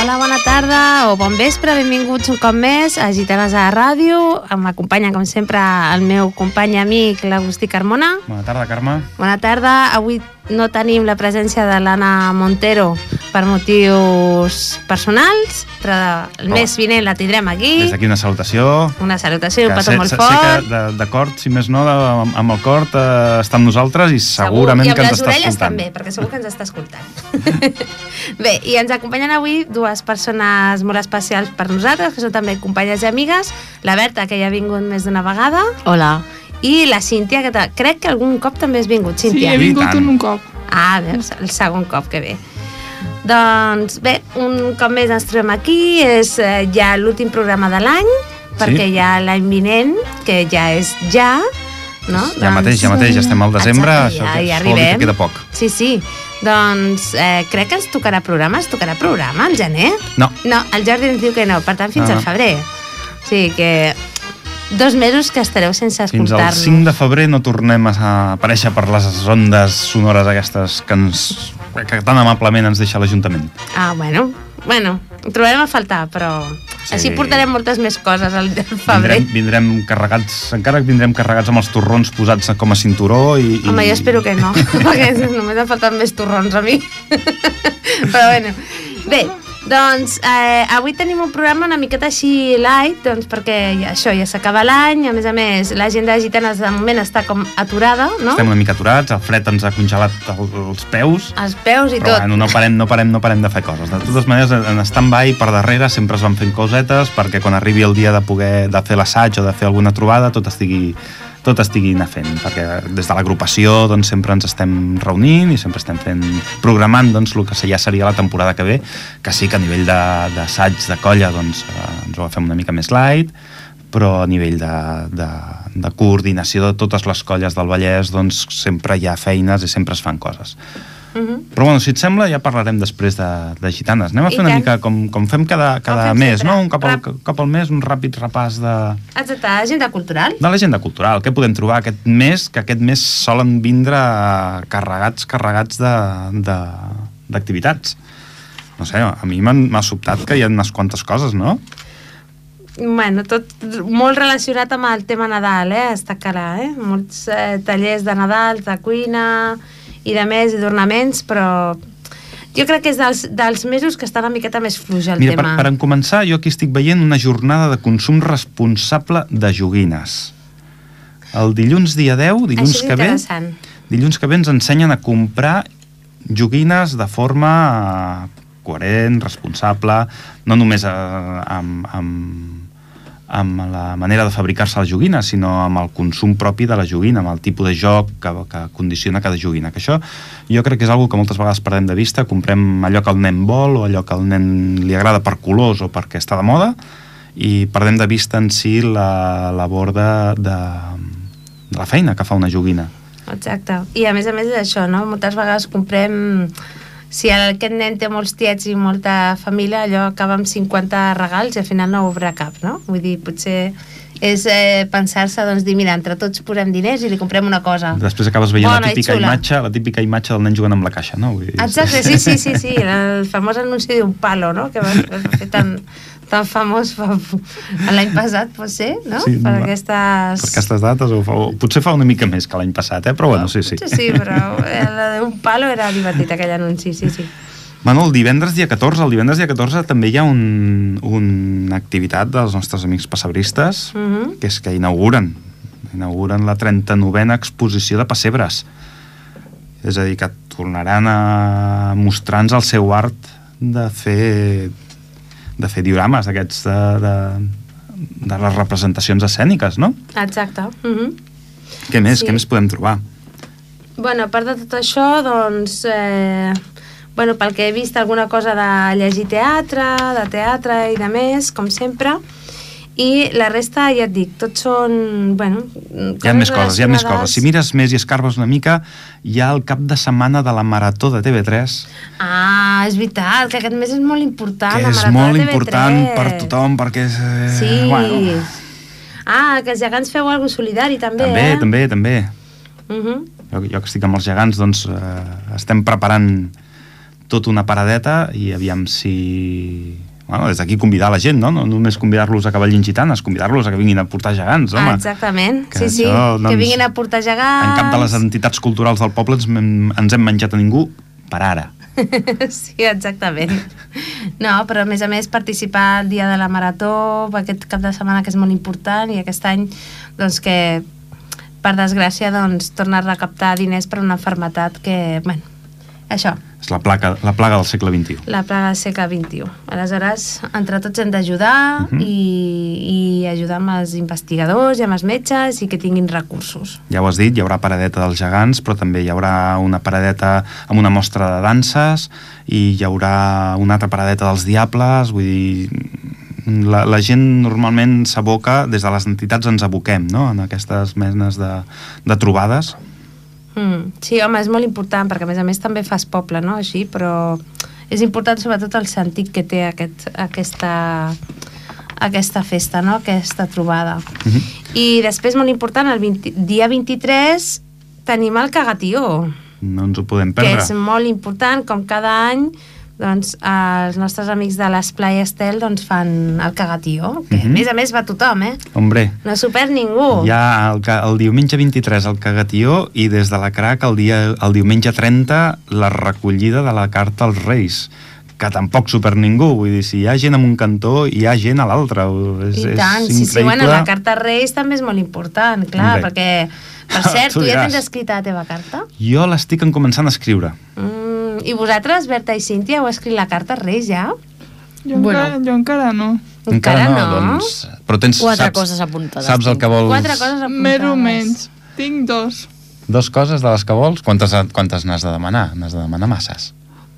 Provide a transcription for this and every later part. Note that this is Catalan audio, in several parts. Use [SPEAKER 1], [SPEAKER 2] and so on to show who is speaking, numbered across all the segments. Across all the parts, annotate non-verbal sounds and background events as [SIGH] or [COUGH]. [SPEAKER 1] Hola, bona tarda o bon vespre, benvinguts un cop més a Gitanes a la Ràdio. M'acompanya, com sempre, el meu company i amic, l'Agustí Carmona.
[SPEAKER 2] Bona tarda, Carme.
[SPEAKER 1] Bona tarda. Avui no tenim la presència de l'Anna Montero per motius personals, però el
[SPEAKER 2] Oh.
[SPEAKER 1] mes vinent la tindrem aquí.
[SPEAKER 2] Des d'aquí una salutació.
[SPEAKER 1] Una salutació i un
[SPEAKER 2] Que
[SPEAKER 1] petó
[SPEAKER 2] sé-
[SPEAKER 1] molt
[SPEAKER 2] sé-
[SPEAKER 1] fort.
[SPEAKER 2] Sé que de- d'acord, si més no, de, amb, amb el cor eh, està amb nosaltres i segurament
[SPEAKER 1] Segur, i amb
[SPEAKER 2] que ens
[SPEAKER 1] les
[SPEAKER 2] està
[SPEAKER 1] orelles
[SPEAKER 2] escoltant.
[SPEAKER 1] també, perquè segur que ens està escoltant. [LAUGHS] Bé, i ens acompanyen avui dues persones molt especials per nosaltres, que són també companyes i amigues, la Berta, que ja ha vingut més d'una vegada,
[SPEAKER 3] Hola.
[SPEAKER 1] i la Cíntia, que ta- crec que algun cop també has vingut,
[SPEAKER 3] Sí,
[SPEAKER 1] Cíntia.
[SPEAKER 3] he
[SPEAKER 2] I
[SPEAKER 3] vingut
[SPEAKER 2] tant.
[SPEAKER 3] un, un cop.
[SPEAKER 1] Ah, veus, el segon cop que ve. Doncs bé, un cop més ens trobem aquí, és eh, ja l'últim programa de l'any, perquè ja l'any vinent, que ja és ja, no? Doncs
[SPEAKER 2] Ja mateix, ja mateix, ja estem al desembre,
[SPEAKER 1] Exacte,
[SPEAKER 2] això,
[SPEAKER 1] ja,
[SPEAKER 2] que-
[SPEAKER 1] ja
[SPEAKER 2] això vol dir que
[SPEAKER 1] arribem.
[SPEAKER 2] queda poc.
[SPEAKER 1] Sí, sí. Doncs eh, crec que ens tocarà programa, ens tocarà programa al gener?
[SPEAKER 2] No,
[SPEAKER 1] No, el Jordi ens diu que no, per tant fins
[SPEAKER 2] Ah.
[SPEAKER 1] al febrer. O sigui que dos mesos que estareu sense
[SPEAKER 2] fins al
[SPEAKER 1] escoltar-nos.
[SPEAKER 2] 5 de febrer no tornem a aparèixer per les ondes sonores aquestes que, ens, que tan amablement ens deixa l'Ajuntament.
[SPEAKER 1] Ah, bueno, bueno, ho trobarem a faltar, però
[SPEAKER 2] Sí.
[SPEAKER 1] sí. així portarem moltes més coses al al febrer.
[SPEAKER 2] Vindrem, vindrem carregats, encara que vindrem carregats amb els torrons posats com a cinturó i... i
[SPEAKER 1] Home, jo espero que no, [LAUGHS] perquè només han faltat més torrons a mi. [LAUGHS] Però bueno, bé, doncs eh, avui tenim un programa una miqueta així light, doncs perquè ja, això ja s'acaba l'any, a més a més l'agenda de gitanes de moment està com aturada, no?
[SPEAKER 2] Estem una mica aturats, el fred ens ha congelat el, els peus.
[SPEAKER 1] Els peus i
[SPEAKER 2] Però
[SPEAKER 1] tot.
[SPEAKER 2] bueno, no parem, no parem, no parem de fer coses. De totes maneres, en stand-by per darrere sempre es van fent cosetes perquè quan arribi el dia de poder de fer l'assaig o de fer alguna trobada tot estigui tot estigui anar fent, perquè des de l'agrupació doncs, sempre ens estem reunint i sempre estem fent, programant doncs, el que ja seria la temporada que ve, que sí que a nivell de- d'assaig, de, de colla, doncs, eh, ens ho fem una mica més light, però a nivell de, de, de coordinació de totes les colles del Vallès doncs, sempre hi ha feines i sempre es fan coses.
[SPEAKER 1] Mhm.
[SPEAKER 2] Però bueno, si et sembla, ja parlarem després de, de gitanes. Anem a
[SPEAKER 1] I
[SPEAKER 2] fer una
[SPEAKER 1] tant.
[SPEAKER 2] mica com, com fem cada, cada
[SPEAKER 1] fem
[SPEAKER 2] mes,
[SPEAKER 1] sempre.
[SPEAKER 2] no? Un cop al,
[SPEAKER 1] Rap.
[SPEAKER 2] cop al mes, un ràpid repàs de,
[SPEAKER 1] Exacte, agenda cultural.
[SPEAKER 2] de l'agenda cultural. Què podem trobar aquest mes? Que aquest mes solen vindre carregats, carregats de- de- d'activitats. No sé, a mi m'han- m'ha sobtat que hi ha unes quantes coses, no?
[SPEAKER 1] Bueno, tot molt relacionat amb el tema Nadal, eh? Està cara, eh? Molts eh, tallers de Nadal, de cuina i de més, i d'ornaments, però jo crec que és dels, dels mesos que està una miqueta més fluix el
[SPEAKER 2] Mira, per,
[SPEAKER 1] tema.
[SPEAKER 2] per en començar, jo aquí estic veient una jornada de consum responsable de joguines. El dilluns dia 10, dilluns
[SPEAKER 1] Això és
[SPEAKER 2] que ve...
[SPEAKER 1] interessant.
[SPEAKER 2] Dilluns que ve ens ensenyen a comprar joguines de forma eh, coherent, responsable, no només eh, amb, amb, amb la manera de fabricar-se les joguines, sinó amb el consum propi de la joguina, amb el tipus de joc que, que condiciona cada joguina. Que això jo crec que és algo que moltes vegades perdem de vista, comprem allò que el nen vol o allò que al nen li agrada per colors o perquè està de moda, i perdem de vista en si la labor de, de, de la feina que fa una joguina.
[SPEAKER 1] Exacte. I a més a més és això, no? Moltes vegades comprem... Si aquest nen té molts tiets i molta família, allò acaba amb 50 regals i al final no obre cap, no? Vull dir, potser és eh, pensar-se, doncs, dir, mira, entre tots posem diners i li comprem una cosa.
[SPEAKER 2] Després acabes veient
[SPEAKER 1] Bona
[SPEAKER 2] la
[SPEAKER 1] i
[SPEAKER 2] típica
[SPEAKER 1] xula.
[SPEAKER 2] imatge, la típica imatge del nen jugant amb la caixa, no? Vull dir, és-
[SPEAKER 1] Exacte, sí, sí, sí,
[SPEAKER 2] [LAUGHS]
[SPEAKER 1] sí, el famós anunci d'un palo, no?, que va fer tan, tan famós fa- l'any passat, potser, no?,
[SPEAKER 2] Sí,
[SPEAKER 1] per
[SPEAKER 2] va.
[SPEAKER 1] aquestes...
[SPEAKER 2] Per aquestes dates, o, fa, o potser fa una mica més que l'any passat, eh? però bueno, sí, sí.
[SPEAKER 1] Potser sí,
[SPEAKER 2] [LAUGHS]
[SPEAKER 1] però eh, el d'un palo era divertit, aquell anunci, sí, sí.
[SPEAKER 2] Bueno, el divendres dia 14, el divendres dia 14 també hi ha un, una activitat dels nostres amics pessebristes,
[SPEAKER 1] Uh -huh.
[SPEAKER 2] que és que inauguren inauguren la 39a exposició de pessebres és a dir, que tornaran a mostrar-nos el seu art de fer de fer diorames d'aquests de, de, de les representacions escèniques, no?
[SPEAKER 1] Exacte. Uh -huh.
[SPEAKER 2] Què més?
[SPEAKER 1] Sí.
[SPEAKER 2] Què més podem trobar?
[SPEAKER 1] Bueno, a part de tot això, doncs... Eh, bueno, pel que he vist, alguna cosa de llegir teatre, de teatre i de més, com sempre. I la resta, ja et dic, tots són... Bueno,
[SPEAKER 2] Hi ha més coses, hi ha més coses. Si mires més i escarbes una mica, hi ha el cap de setmana de la Marató de TV3
[SPEAKER 1] Ah, és veritat, que aquest mes és molt important.
[SPEAKER 2] que
[SPEAKER 1] Ah, la
[SPEAKER 2] és
[SPEAKER 1] Marató de
[SPEAKER 2] molt
[SPEAKER 1] TV3.
[SPEAKER 2] important per tothom perquè és... eh,
[SPEAKER 1] Sí.
[SPEAKER 2] bueno,
[SPEAKER 1] Ah, que els gegants feu alguna cosa solidari, també,
[SPEAKER 2] també,
[SPEAKER 1] eh?
[SPEAKER 2] també, també
[SPEAKER 1] Uh -huh.
[SPEAKER 2] Jo, jo que estic amb els gegants, doncs eh, estem preparant tota una paradeta i aviam si... Bueno, des d'aquí convidar la gent, no? No només convidar-los a cavallins gitanes, convidar-los a que vinguin a portar gegants, home.
[SPEAKER 1] Ah, exactament,
[SPEAKER 2] Que
[SPEAKER 1] sí, sí,
[SPEAKER 2] això, doncs,
[SPEAKER 1] que vinguin a portar gegants.
[SPEAKER 2] En cap de les
[SPEAKER 1] Ah,
[SPEAKER 2] entitats culturals del poble ens, hem- ens hem menjat a ningú per ara.
[SPEAKER 1] [LAUGHS] Sí, exactament. No, però a més a més participar el dia de la Marató, aquest cap de setmana que és molt important i aquest any doncs que per desgràcia doncs torna a recaptar diners per una enfermetat que, bueno, això,
[SPEAKER 2] És la, placa, la plaga del segle XXI.
[SPEAKER 1] la plaga del segle XXI. Aleshores, entre tots hem d'ajudar
[SPEAKER 2] Mhm.
[SPEAKER 1] i, i ajudar amb els investigadors i amb els metges i que tinguin recursos.
[SPEAKER 2] Ja ho has dit, hi haurà paradeta dels gegants, però també hi haurà una paradeta amb una mostra de danses i hi haurà una altra paradeta dels diables, vull dir... La, la gent normalment s'aboca, des de les entitats ens aboquem, no?, en aquestes menes de, de trobades.
[SPEAKER 1] Mm, sí, home, és molt important, perquè a més a més també fas poble, no?, així, però és important sobretot el sentit que té aquest, aquesta, aquesta festa, no?, aquesta trobada.
[SPEAKER 2] Uh -huh.
[SPEAKER 1] I després, molt important, el 20, dia 23 tenim el cagatió,
[SPEAKER 2] No ens ho podem
[SPEAKER 1] que
[SPEAKER 2] perdre.
[SPEAKER 1] és molt important, com cada any, doncs els nostres amics de l'Esplai Estel doncs, fan el cagatió, que
[SPEAKER 2] Mhm.
[SPEAKER 1] a més a més va tothom, eh?
[SPEAKER 2] Hombre,
[SPEAKER 1] No s'ho perd ningú.
[SPEAKER 2] Hi ha el, ca- el diumenge 23 al Cagatió i des de la Crac el, dia, el diumenge 30 la recollida de la carta als Reis que tampoc super ningú, vull dir, si hi ha gent en un cantó, hi ha gent a l'altre. o- És,
[SPEAKER 1] I tant,
[SPEAKER 2] és
[SPEAKER 1] sí, sí, bueno, la
[SPEAKER 2] increïble.
[SPEAKER 1] carta Reis també és molt important, clar,
[SPEAKER 2] Hombre.
[SPEAKER 1] perquè, per cert,
[SPEAKER 2] [LAUGHS] Tu
[SPEAKER 1] tu ja
[SPEAKER 2] diràs.
[SPEAKER 1] tens escrita la teva carta?
[SPEAKER 2] Jo l'estic en començant a escriure.
[SPEAKER 1] Mm, I vosaltres, Berta i Cíntia, heu escrit la carta Reis ja?
[SPEAKER 3] Jo,
[SPEAKER 4] Bueno.
[SPEAKER 3] encara, jo encara no.
[SPEAKER 2] Doncs, però tens,
[SPEAKER 4] Quatre
[SPEAKER 2] saps,
[SPEAKER 4] coses apuntades.
[SPEAKER 2] Saps el que vols?
[SPEAKER 1] Quatre coses apuntades.
[SPEAKER 3] Més o menys. Tinc dos.
[SPEAKER 2] Dos coses de les que vols? Quantes, quantes n'has de demanar? N'has de demanar masses.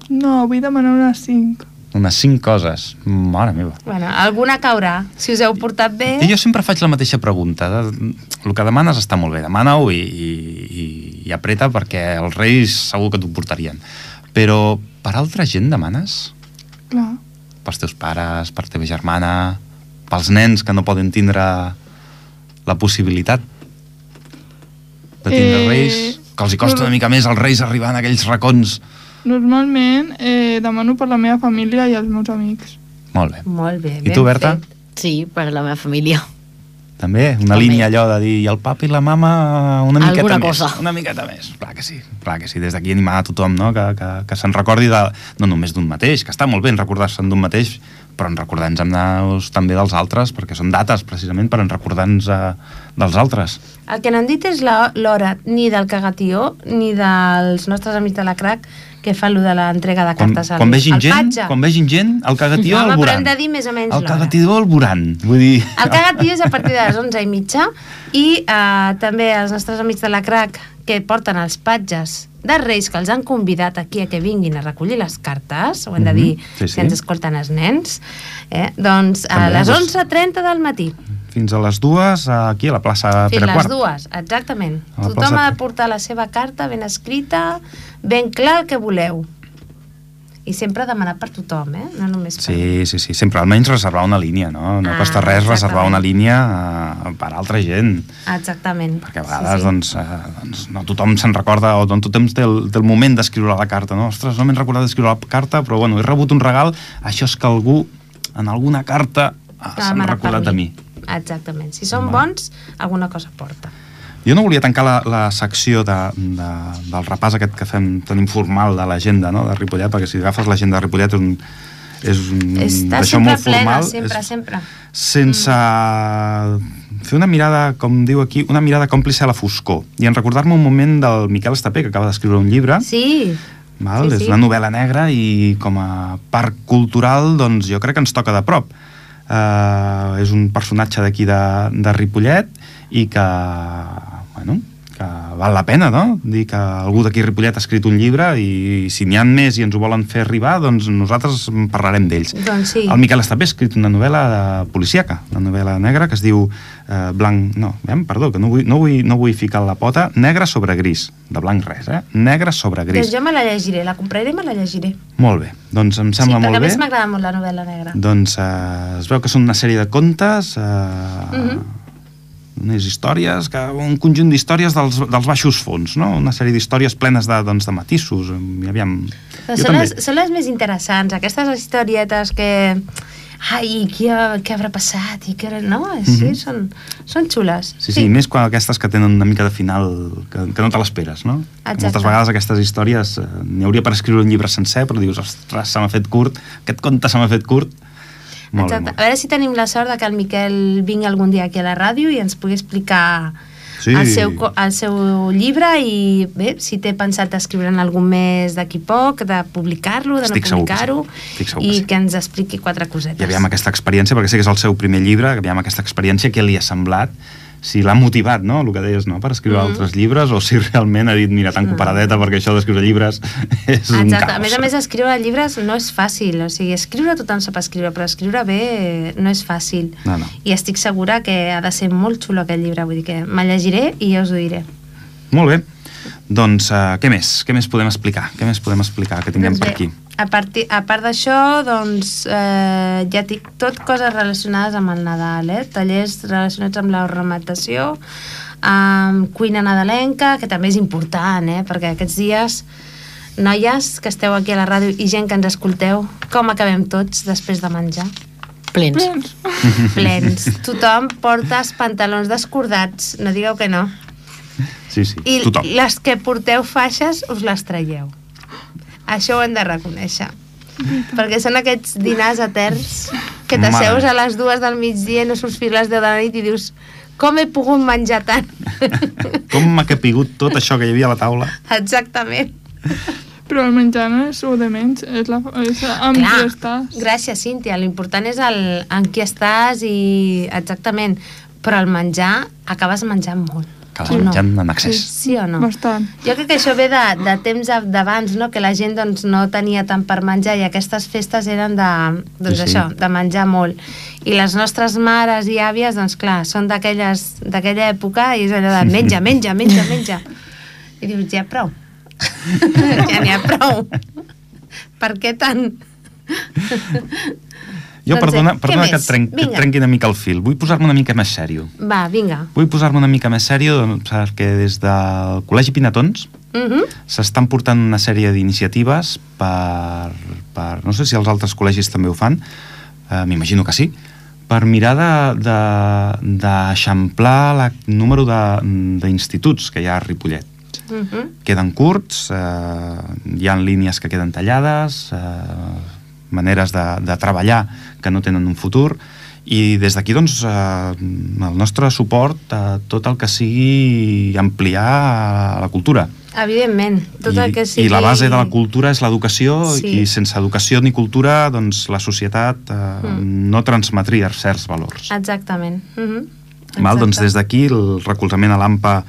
[SPEAKER 3] No, vull demanar una cinc.
[SPEAKER 2] Unes cinc coses. Mare meva.
[SPEAKER 1] Bueno, alguna caurà, si us heu portat bé.
[SPEAKER 2] I jo sempre faig la mateixa pregunta. de- El que demanes està molt bé, demana-ho i, i, i- i apreta perquè els reis segur que t'ho portarien. Però per altra gent demanes?
[SPEAKER 3] Clar.
[SPEAKER 2] Pels teus pares, per teva germana, pels nens que no poden tindre la possibilitat de tindre
[SPEAKER 3] Eh,
[SPEAKER 2] eh... reis? Que els hi costa una mica més als reis arribar en aquells racons.
[SPEAKER 3] Normalment eh, demano per la meva família i els meus amics. [LAUGHS]
[SPEAKER 2] Molt bé.
[SPEAKER 1] Molt bé,
[SPEAKER 2] I tu, Berta?
[SPEAKER 1] Fet.
[SPEAKER 4] Sí, per a la meva família.
[SPEAKER 2] També, una
[SPEAKER 4] També.
[SPEAKER 2] línia allò de dir i el papa i la mama una miqueta
[SPEAKER 4] Alguna
[SPEAKER 2] més.
[SPEAKER 4] cosa.
[SPEAKER 2] Una miqueta més, clar que sí. Clar que sí, des d'aquí animar a tothom no? que, que, que se'n recordi de, no només d'un mateix, que està molt bé en recordar-se'n d'un mateix, però en recordar-nos hem d'anar també dels altres, perquè són dates precisament per en recordar-nos eh, dels altres.
[SPEAKER 1] El que no han dit és la- l'hora ni del cagatió ni dels nostres amics de la CRAC que fan lo de l'entrega de
[SPEAKER 2] Quan,
[SPEAKER 1] cartes al,
[SPEAKER 2] quan, vegin
[SPEAKER 1] al
[SPEAKER 2] gent,
[SPEAKER 1] patge.
[SPEAKER 2] quan vegin gent, el cagatió
[SPEAKER 1] Home,
[SPEAKER 2] al
[SPEAKER 1] però hem
[SPEAKER 2] voran.
[SPEAKER 1] de dir més o menys
[SPEAKER 2] El
[SPEAKER 1] l'hora.
[SPEAKER 2] cagatió al voran. Vull dir...
[SPEAKER 1] El cagatió és a partir de les 11 i mitja i eh, també els nostres amics de la CRAC que porten els patges de Reis que els han convidat aquí a que vinguin a recollir les cartes, ho hem de
[SPEAKER 2] Mhm,
[SPEAKER 1] dir, sí,
[SPEAKER 2] sí, sí.
[SPEAKER 1] sí. que ens escolten els nens, eh? doncs a
[SPEAKER 2] També,
[SPEAKER 1] les
[SPEAKER 2] doncs-
[SPEAKER 1] 11.30 del matí,
[SPEAKER 2] [LAUGHS] Fins a les dues, aquí a la plaça
[SPEAKER 1] fins
[SPEAKER 2] Pere
[SPEAKER 1] les
[SPEAKER 2] Ah, Quart. Ah,
[SPEAKER 1] dues, exactament.
[SPEAKER 2] A la
[SPEAKER 1] Tothom
[SPEAKER 2] plaça-
[SPEAKER 1] ha de portar la seva carta ben escrita, ben clar el que voleu. I sempre demanar per tothom, eh? no només per...
[SPEAKER 2] Sí, sí, sí, sempre almenys reservar una línia, no? No
[SPEAKER 1] Ah,
[SPEAKER 2] costa res
[SPEAKER 1] exactament.
[SPEAKER 2] reservar una línia eh, per altra gent,
[SPEAKER 1] Exactament.
[SPEAKER 2] perquè a vegades doncs, eh, doncs, no tothom se'n recorda o no tothom té el, té el moment d'escriure la carta, no? Ostres, no m'he recordat d'escriure la carta, però bueno, he rebut un regal, això és que algú en alguna carta ah,
[SPEAKER 1] Que
[SPEAKER 2] s'han
[SPEAKER 1] demana per
[SPEAKER 2] recordat a mi.
[SPEAKER 1] Exactament. Si són
[SPEAKER 2] Home.
[SPEAKER 1] bons, alguna cosa porta.
[SPEAKER 2] Jo no volia tancar la, la secció de, de, del repàs aquest que fem tan informal de l'agenda no? de Ripollet, perquè si agafes l'agenda de Ripollet és un, és un
[SPEAKER 1] Està
[SPEAKER 2] Mm, d'això
[SPEAKER 1] sempre
[SPEAKER 2] molt
[SPEAKER 1] plena,
[SPEAKER 2] formal,
[SPEAKER 1] sempre,
[SPEAKER 2] és, Ah.
[SPEAKER 1] sempre.
[SPEAKER 2] sense fer una mirada, com diu aquí, una mirada còmplice a la foscor. I en recordar-me un moment del Miquel Estapé, que acaba d'escriure un llibre,
[SPEAKER 1] Sí,
[SPEAKER 2] val?
[SPEAKER 1] sí,
[SPEAKER 2] és
[SPEAKER 1] sí.
[SPEAKER 2] una novel·la negra i com a parc cultural doncs jo crec que ens toca de prop. Uh, és un personatge d'aquí de, de Ripollet i que, bueno, que val la pena, no? Dir que algú d'aquí a Ripollet ha escrit un llibre i si n'hi ha més i ens ho volen fer arribar, doncs nosaltres en parlarem d'ells.
[SPEAKER 1] doncs sí.
[SPEAKER 2] El Miquel Estapé ha escrit una novel·la eh, policíaca, una novel·la negra que es diu eh, Blanc... No, veiem, perdó, que no vull, no, vull, no vull ficar la pota. Negre sobre gris, de blanc res, eh? Negre sobre
[SPEAKER 1] Doncs
[SPEAKER 2] gris.
[SPEAKER 1] jo me la llegiré, la compraré i me la llegiré.
[SPEAKER 2] Molt bé, doncs em
[SPEAKER 1] sí,
[SPEAKER 2] sembla
[SPEAKER 1] perquè
[SPEAKER 2] molt
[SPEAKER 1] a
[SPEAKER 2] bé.
[SPEAKER 1] més m'agrada molt la novel·la negra.
[SPEAKER 2] Doncs eh, es veu que són una sèrie de contes... Eh,
[SPEAKER 1] Mhm.
[SPEAKER 2] unes històries, que, un conjunt d'històries dels, dels baixos fons, no? Una sèrie d'històries plenes de, doncs, de matisos, i aviam...
[SPEAKER 1] Però
[SPEAKER 2] Jo
[SPEAKER 1] són les,
[SPEAKER 2] també.
[SPEAKER 1] són les més interessants, aquestes historietes que... Ai, què, què haurà passat? I què, haurà-" no? Sí,
[SPEAKER 2] Mhm.
[SPEAKER 1] són, són xules.
[SPEAKER 2] Sí, sí, sí, més quan aquestes que tenen una mica de final, que, que no te l'esperes, no? Que
[SPEAKER 1] Exacte.
[SPEAKER 2] Moltes vegades aquestes històries eh, n'hi hauria per escriure un llibre sencer, però dius, ostres, se m'ha fet curt, aquest conte se m'ha fet curt. Molt bé,
[SPEAKER 1] Exacte. A
[SPEAKER 2] molt bé.
[SPEAKER 1] veure si tenim la sort de que el Miquel vingui algun dia aquí a la ràdio i ens pugui explicar
[SPEAKER 2] Sí.
[SPEAKER 1] el, seu, co- el seu llibre i bé, si té pensat d'escriure en algun mes d'aquí poc, de publicar-lo, de
[SPEAKER 2] Estic
[SPEAKER 1] no
[SPEAKER 2] segur que sí.
[SPEAKER 1] publicar-ho,
[SPEAKER 2] Estic segur que
[SPEAKER 1] i
[SPEAKER 2] sí.
[SPEAKER 1] que ens expliqui quatre cosetes.
[SPEAKER 2] I aviam aquesta experiència, perquè sé que és el seu primer llibre, aviam aquesta experiència, què li ha semblat, si l'ha motivat, no?, el que deies, no?, per escriure mm
[SPEAKER 1] Mhm.
[SPEAKER 2] -hmm. altres llibres, o si realment ha dit, mira, tanco
[SPEAKER 1] No.
[SPEAKER 2] paradeta perquè això d'escriure llibres [LAUGHS] és un caos.
[SPEAKER 1] Exacte. A més a més, escriure llibres no és fàcil. O sigui, escriure tothom sap escriure, però escriure bé eh, no és fàcil.
[SPEAKER 2] No, no.
[SPEAKER 1] I estic segura que ha de ser molt xulo aquest llibre. Vull dir que me llegiré i ja us ho diré.
[SPEAKER 2] Molt bé. Doncs uh, què més? Què més podem explicar? Què més podem explicar que tinguem
[SPEAKER 1] Doncs bé,
[SPEAKER 2] per aquí?
[SPEAKER 1] A, partir, a part d'això, doncs, eh, ja tinc tot coses relacionades amb el Nadal, eh? Tallers relacionats amb la ornamentació, amb cuina nadalenca, que també és important, eh? Perquè aquests dies, noies que esteu aquí a la ràdio i gent que ens escolteu, com acabem tots després de
[SPEAKER 2] [LAUGHS]
[SPEAKER 1] menjar?
[SPEAKER 4] Plens.
[SPEAKER 3] Plens.
[SPEAKER 1] Plens. Tothom porta els pantalons descordats, no digueu que no.
[SPEAKER 2] Sí, sí,
[SPEAKER 1] I
[SPEAKER 2] tothom.
[SPEAKER 1] les que porteu faixes us les traieu. Això ho hem de reconèixer. Perquè són aquests dinars eterns que
[SPEAKER 2] Mare
[SPEAKER 1] t'asseus
[SPEAKER 2] meva.
[SPEAKER 1] a les dues del migdia i no surts fins a les 10 de la nit i dius com he pogut menjar
[SPEAKER 2] [LAUGHS]
[SPEAKER 1] tant?
[SPEAKER 2] Com m'ha capigut tot això que hi havia a la taula?
[SPEAKER 1] Exactament.
[SPEAKER 3] Però el menjar no és el de menys, és, la, és amb qui estàs.
[SPEAKER 1] Gràcies, Cíntia. L'important és el, en qui estàs i exactament. Però el menjar, acabes menjant molt. o
[SPEAKER 2] Que l'has
[SPEAKER 1] no?
[SPEAKER 2] menjat en excés.
[SPEAKER 1] Sí o no?
[SPEAKER 3] Bastant.
[SPEAKER 1] Jo crec que això ve de, de temps ab- d'abans, no? que la gent doncs, no tenia tant per menjar i aquestes festes eren de, doncs, sí,
[SPEAKER 2] Sí,
[SPEAKER 1] sí.
[SPEAKER 2] sí.
[SPEAKER 1] això, de menjar molt. I les nostres mares i àvies, doncs clar, són d'aquelles- d'aquella època i és allò de menja, menja, menja, menja. I dius, ja prou. [LAUGHS] ja n'hi ha prou. Per què tant?
[SPEAKER 2] Jo,
[SPEAKER 1] Doncs,
[SPEAKER 2] perdona,
[SPEAKER 1] eh, què
[SPEAKER 2] perdona que,
[SPEAKER 1] més?
[SPEAKER 2] et trenc, que et
[SPEAKER 1] Vinga.
[SPEAKER 2] trenqui una mica el fil. Vull posar-me una mica més sèrio.
[SPEAKER 1] Va, vinga.
[SPEAKER 2] Vull posar-me una mica més sèrio doncs, perquè des del Col·legi Pinatons
[SPEAKER 1] Mhm.
[SPEAKER 2] s'estan portant una sèrie d'iniciatives per, per... No sé si els altres col·legis també ho fan, eh, m'imagino que sí, per mirar d'eixamplar de, de, d'eixamplar la- el número de- d'instituts que hi ha a Ripollet
[SPEAKER 1] Mhm.
[SPEAKER 2] queden curts, eh, hi ha línies que queden tallades, eh, maneres de, de treballar que no tenen un futur, i des d'aquí doncs, eh, el nostre suport a tot el que sigui ampliar la cultura.
[SPEAKER 1] Evidentment. Tot
[SPEAKER 2] I,
[SPEAKER 1] el que sigui...
[SPEAKER 2] I la base de la cultura és l'educació,
[SPEAKER 1] Sí.
[SPEAKER 2] i sense educació ni cultura doncs, la societat eh,
[SPEAKER 1] Mm.
[SPEAKER 2] no transmetria certs valors.
[SPEAKER 1] Exactament. Mhm.
[SPEAKER 2] Val, doncs
[SPEAKER 1] Exacte.
[SPEAKER 2] des d'aquí el recolzament a l'AMPA,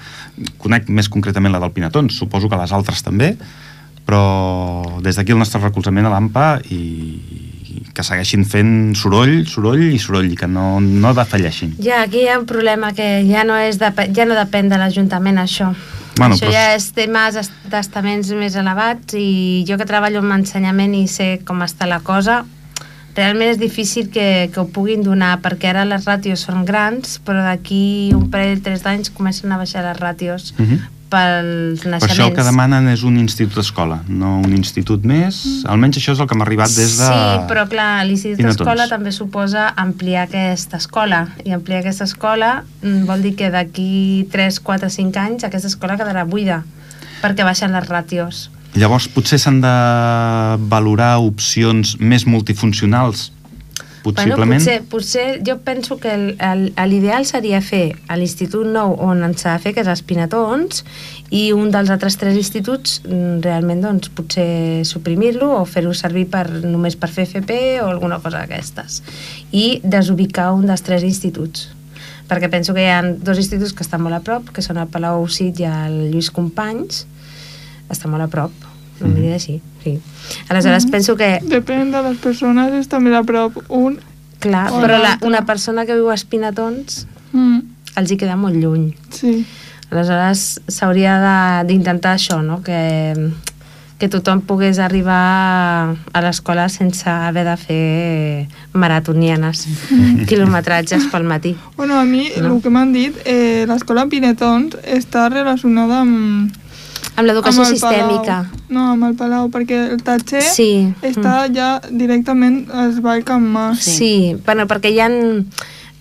[SPEAKER 2] conec més concretament la del Pinatons, suposo que les altres també, però des d'aquí el nostre recolzament a l'AMPA i, i que segueixin fent soroll, soroll i soroll, i que no, no defalleixin.
[SPEAKER 1] Ja, aquí hi ha un problema que ja no, és de, ja no depèn de l'Ajuntament, això. Bueno,
[SPEAKER 2] Bueno,
[SPEAKER 1] això
[SPEAKER 2] però-
[SPEAKER 1] però... ja és temes es- d'estaments més elevats i jo que treballo amb ensenyament i sé com està la cosa, realment és difícil que, que ho puguin donar perquè ara les ràtios són grans, però d'aquí un parell, tres d'anys comencen a baixar les ràtios
[SPEAKER 2] Mhm.
[SPEAKER 1] pels naixements.
[SPEAKER 2] Per això el que demanen és un institut d'escola, no un institut més, almenys això és el que m'ha arribat des de...
[SPEAKER 1] Mhm. Sí, però clar, l'Institut
[SPEAKER 2] Pinatons.
[SPEAKER 1] d'Escola també suposa ampliar aquesta escola, i ampliar aquesta escola mm, vol dir que d'aquí 3, 4, 5 anys aquesta escola quedarà buida, perquè baixen les ràtios.
[SPEAKER 2] Llavors potser s'han de valorar opcions més multifuncionals, possiblement.
[SPEAKER 1] Bueno, potser, potser jo penso que el- el- l'ideal seria fer a l'Institut Nou on ens s'ha de fer, que és a Espinatons, i un dels altres tres instituts mm, realment doncs, potser suprimir-lo o fer-ho servir per, només per fer FP o alguna cosa d'aquestes. I desubicar un dels tres instituts perquè penso que hi ha dos instituts que estan molt a prop, que són el Palau Cid i el Lluís Companys, està molt a prop, no m'ho diré així, sí. Aleshores, penso que
[SPEAKER 3] Depèn de les persones, és també a prop. Un...
[SPEAKER 1] Clar,
[SPEAKER 3] O
[SPEAKER 1] però la,
[SPEAKER 3] l'altre.
[SPEAKER 1] una persona que viu a Espinatons
[SPEAKER 3] Mm,
[SPEAKER 1] els hi queda molt lluny.
[SPEAKER 3] sí.
[SPEAKER 1] Aleshores, s'hauria de- d'intentar això, no? Que, que tothom pogués arribar a l'escola sense haver de fer maratonianes,
[SPEAKER 3] Mm.
[SPEAKER 1] quilometratges pel matí.
[SPEAKER 3] Bueno, a mi,
[SPEAKER 1] No.
[SPEAKER 3] el que m'han dit, eh, l'escola Pinetons està relacionada
[SPEAKER 1] Amb
[SPEAKER 3] amb...
[SPEAKER 1] Amb l'educació
[SPEAKER 3] el
[SPEAKER 1] sistèmica.
[SPEAKER 3] Palau. No, amb el Palau, perquè el Tatxer
[SPEAKER 1] Sí.
[SPEAKER 3] està
[SPEAKER 4] Mm.
[SPEAKER 3] ja directament es va al Can Mas.
[SPEAKER 1] Sí, sí. Bueno, perquè hi ha, el,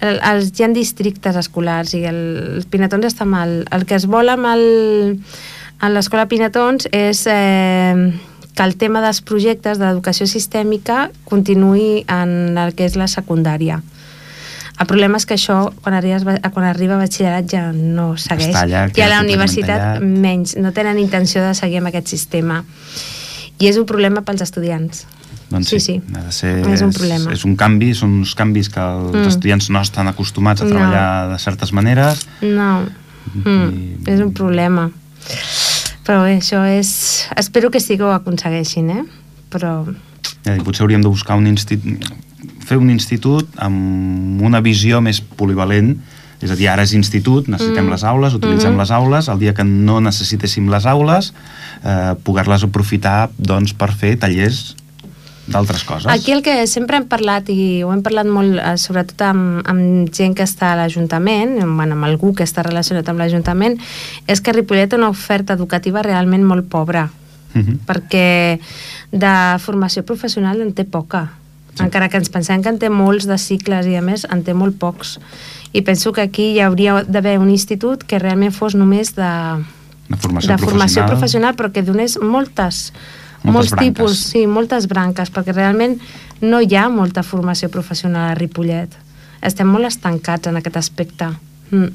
[SPEAKER 1] els, hi ha districtes escolars i el, els pinatons està mal. El que es vol amb el, en l'escola Pinatons és eh, que el tema dels projectes d'educació sistèmica continuï en el que és la secundària. El problema és que això, quan arriba, quan arriba a batxillerat, ja no segueix.
[SPEAKER 2] Està allà,
[SPEAKER 1] I a
[SPEAKER 2] queda
[SPEAKER 1] la
[SPEAKER 2] completament
[SPEAKER 1] universitat,
[SPEAKER 2] tallat.
[SPEAKER 1] menys. No tenen intenció de seguir amb aquest sistema. I és un problema pels estudiants.
[SPEAKER 2] Doncs
[SPEAKER 1] Sí,
[SPEAKER 2] sí,
[SPEAKER 1] sí.
[SPEAKER 2] Ha de ser,
[SPEAKER 1] És un problema.
[SPEAKER 2] És, és un canvi, són uns canvis que els
[SPEAKER 1] Mm.
[SPEAKER 2] mm. estudiants no estan acostumats a
[SPEAKER 1] No.
[SPEAKER 2] treballar de certes maneres.
[SPEAKER 1] No, mm,
[SPEAKER 2] I-
[SPEAKER 1] és un problema. Però bé, això és... Espero que sí que ho aconsegueixin, eh? Però...
[SPEAKER 2] Ja dic, potser hauríem de buscar un institut, fer un institut amb una visió més polivalent, és a dir, ara és institut, necessitem
[SPEAKER 1] Mm.
[SPEAKER 2] les aules, utilitzem
[SPEAKER 1] Mhm.
[SPEAKER 2] les aules, el dia que no necessitéssim les aules, eh, poder-les aprofitar doncs, per fer tallers d'altres coses.
[SPEAKER 1] Aquí el que sempre hem parlat, i ho hem parlat molt, eh, sobretot amb, amb gent que està a l'Ajuntament, amb, bueno, amb algú que està relacionat amb l'Ajuntament, és que Ripollet té una oferta educativa realment molt pobra,
[SPEAKER 2] Mhm.
[SPEAKER 1] perquè de formació professional en té poca.
[SPEAKER 2] Sí.
[SPEAKER 1] Encara que ens pensem que en té molts de cicles i, a més, en té molt pocs. I penso que aquí hi hauria d'haver un institut que realment fos només de,
[SPEAKER 2] De formació,
[SPEAKER 1] de formació
[SPEAKER 2] professional.
[SPEAKER 1] professional, però que donés moltes,
[SPEAKER 2] Moltes
[SPEAKER 1] molts
[SPEAKER 2] branques.
[SPEAKER 1] tipus, sí, moltes branques, perquè realment no hi ha molta formació professional a Ripollet. Estem molt estancats en aquest aspecte. Mm.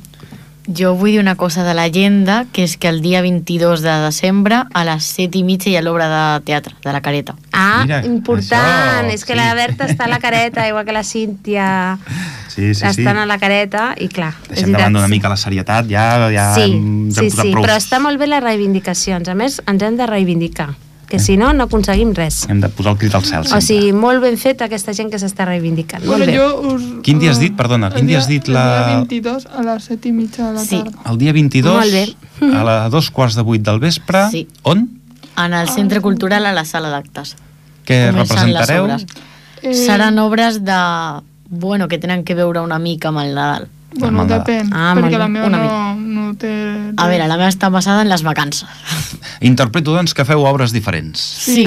[SPEAKER 4] Jo vull dir una cosa de l'agenda, que és que el dia 22 de desembre a les 7 i mitja hi ha l'obra de teatre, de la careta.
[SPEAKER 1] Ah,
[SPEAKER 2] Mira,
[SPEAKER 1] important!
[SPEAKER 2] això,
[SPEAKER 1] és que
[SPEAKER 2] sí.
[SPEAKER 1] la Berta està a la careta, igual que la
[SPEAKER 2] [LAUGHS]
[SPEAKER 1] Cíntia
[SPEAKER 2] Sí, sí, sí.
[SPEAKER 1] estan a la careta, i clar,
[SPEAKER 2] Deixem de banda una mica la serietat, ja, ja
[SPEAKER 1] sí,
[SPEAKER 2] ens hem
[SPEAKER 1] sí,
[SPEAKER 2] posat
[SPEAKER 1] sí,
[SPEAKER 2] prou.
[SPEAKER 1] però està molt bé les reivindicacions. A més, ens hem de reivindicar, que si no, no aconseguim res.
[SPEAKER 2] Hem de posar el crit al cel, sempre.
[SPEAKER 1] O sigui, molt ben fet aquesta gent que s'està reivindicant.
[SPEAKER 3] Bueno,
[SPEAKER 1] molt bé.
[SPEAKER 3] jo us...
[SPEAKER 2] Quin dia has dit? Perdona,
[SPEAKER 3] el
[SPEAKER 2] quin dia has dit la-
[SPEAKER 3] El dia 22 a les 7 i mitja de la
[SPEAKER 4] Sí.
[SPEAKER 3] tarda.
[SPEAKER 2] El dia 22,
[SPEAKER 1] Molt bé.
[SPEAKER 2] a les dos quarts de vuit del vespre,
[SPEAKER 4] Sí.
[SPEAKER 2] on?
[SPEAKER 4] En el Centre Cultural a la Sala d'Actes.
[SPEAKER 2] Què
[SPEAKER 4] Comencen
[SPEAKER 2] representareu?
[SPEAKER 4] les obres.
[SPEAKER 3] Eh,
[SPEAKER 4] Seran obres de... Bueno, que tenen que veure una mica amb el Nadal.
[SPEAKER 3] Bueno,
[SPEAKER 2] Demanda.
[SPEAKER 3] depèn,
[SPEAKER 1] Ah,
[SPEAKER 3] ah,
[SPEAKER 1] molt
[SPEAKER 3] perquè la
[SPEAKER 1] bé.
[SPEAKER 3] meva
[SPEAKER 4] Una
[SPEAKER 3] no, no té...
[SPEAKER 4] A veure, la meva està basada en les vacances.
[SPEAKER 2] Interpreto, doncs, que feu obres diferents.
[SPEAKER 4] Sí.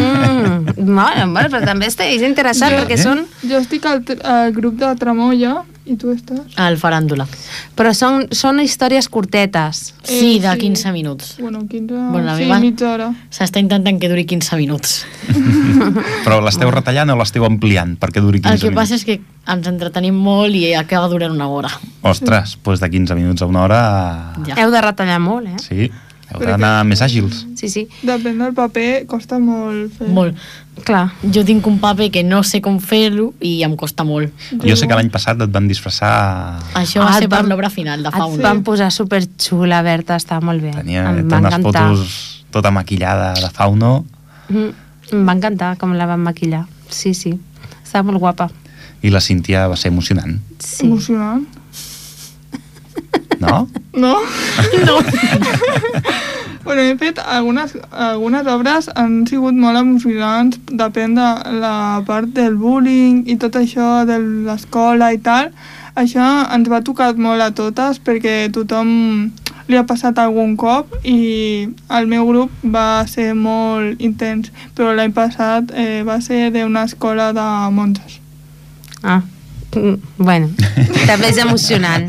[SPEAKER 1] Mm, bueno, bueno, però també està- és interessant
[SPEAKER 2] Jo-
[SPEAKER 1] perquè
[SPEAKER 2] Eh?
[SPEAKER 1] són,
[SPEAKER 3] Jo estic al, tr- al grup de Tramolla i tu estàs...
[SPEAKER 4] Al faràndula.
[SPEAKER 1] però són, són històries curtetes.
[SPEAKER 4] Sí,
[SPEAKER 3] Eh,
[SPEAKER 4] de
[SPEAKER 3] sí.
[SPEAKER 4] 15 minuts.
[SPEAKER 3] Bueno, 15...
[SPEAKER 4] Bueno, la
[SPEAKER 3] sí,
[SPEAKER 4] meva-
[SPEAKER 3] mitja hora.
[SPEAKER 4] S'està intentant que duri 15 minuts.
[SPEAKER 2] Però l'esteu retallant o l'esteu ampliant perquè duri 15
[SPEAKER 4] El que
[SPEAKER 2] minuts?
[SPEAKER 4] passa és que ens entretenim molt i acaba durant una hora.
[SPEAKER 2] Ostres, doncs de 15 minuts a una hora...
[SPEAKER 4] Ja.
[SPEAKER 1] Heu de retallar molt, eh?
[SPEAKER 2] Sí, heu
[SPEAKER 3] Perquè-
[SPEAKER 2] d'anar més àgils.
[SPEAKER 1] Sí, sí,
[SPEAKER 3] Depèn del paper, costa molt fer.
[SPEAKER 4] Molt.
[SPEAKER 1] clar.
[SPEAKER 4] Jo tinc un paper que no sé com fer-lo i em costa molt.
[SPEAKER 2] Jo sé que l'any passat et van disfressar...
[SPEAKER 4] Això va
[SPEAKER 1] Ah,
[SPEAKER 4] ser
[SPEAKER 1] et
[SPEAKER 4] per
[SPEAKER 1] van-
[SPEAKER 4] l'obra final de fa
[SPEAKER 1] Et
[SPEAKER 4] un
[SPEAKER 1] van posar superxula, Berta, està molt bé.
[SPEAKER 2] Tenia
[SPEAKER 1] em
[SPEAKER 2] té
[SPEAKER 1] va
[SPEAKER 2] unes
[SPEAKER 1] encantar.
[SPEAKER 2] fotos tota maquillada de fauno
[SPEAKER 1] Mm, em va encantar com la van maquillar. Sí, sí, està molt guapa.
[SPEAKER 2] i la Cíntia va ser emocionant,
[SPEAKER 1] Sí.
[SPEAKER 3] Emocionant.
[SPEAKER 1] [LAUGHS]
[SPEAKER 2] no?
[SPEAKER 3] No? No. [LAUGHS] bueno, he fet algunes, algunes obres han sigut molt emocionants, depèn de la part del bullying i tot això de l'escola i tal. Això ens va tocar molt a totes perquè tothom li ha passat algun cop i el meu grup va ser molt intens, però l'any passat eh, va ser d'una escola de monges.
[SPEAKER 1] Ah, mm, bueno,
[SPEAKER 2] [LAUGHS]
[SPEAKER 1] també és emocionant.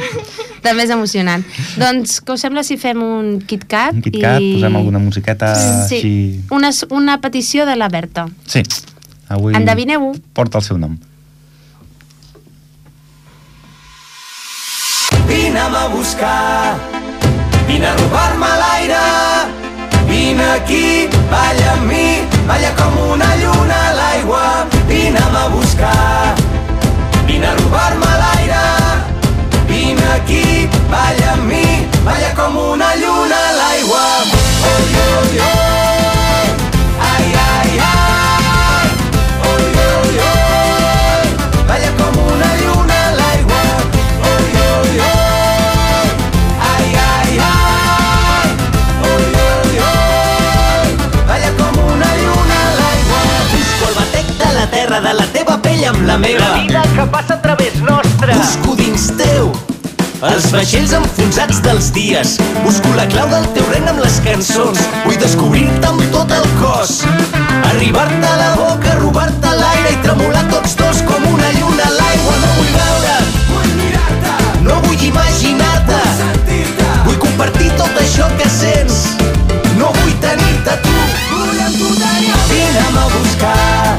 [SPEAKER 1] També és emocionant. Doncs, què us sembla si fem un KitKat?
[SPEAKER 2] Un KitKat,
[SPEAKER 1] i...
[SPEAKER 2] posem alguna musiqueta
[SPEAKER 1] sí.
[SPEAKER 2] així...
[SPEAKER 1] Una, s- una petició de la Berta.
[SPEAKER 2] Sí, avui
[SPEAKER 1] Endevineu-ho.
[SPEAKER 2] porta el seu nom.
[SPEAKER 5] Vine'm a buscar, vine a robar-me l'aire. Vine aquí, balla amb mi, balla com una lluna a l'aigua. Vine'm a buscar, vine a robar-me l'aire. Vine aquí, balla amb mi, balla com una lluna a l'aigua. Oi, oi, oi, ai, ai, ai. Oi, oi, oi, balla com una lluna a l'aigua. Oi, oi, oi, ai, ai, ai. Oi, oi, oi, balla com una lluna a l'aigua. Busco el batec de la terra, de la teva pell amb la meva.
[SPEAKER 6] La vida que passa a través nostra.
[SPEAKER 5] Busco dins teu Els vaixells enfonsats dels dies. Busco la clau del teu regne amb les cançons. Vull descobrir-te amb tot el cos. Arribar-te a la boca, robar-te l'aire i tremolar tots dos com una lluna a l'aigua. No vull veure, vull mirar-te. No vull imaginar-te. Vull sentir-te. Vull compartir tot això que sents. No vull tenir-te a tu. Vull amb tu tenir. Vine'm a buscar.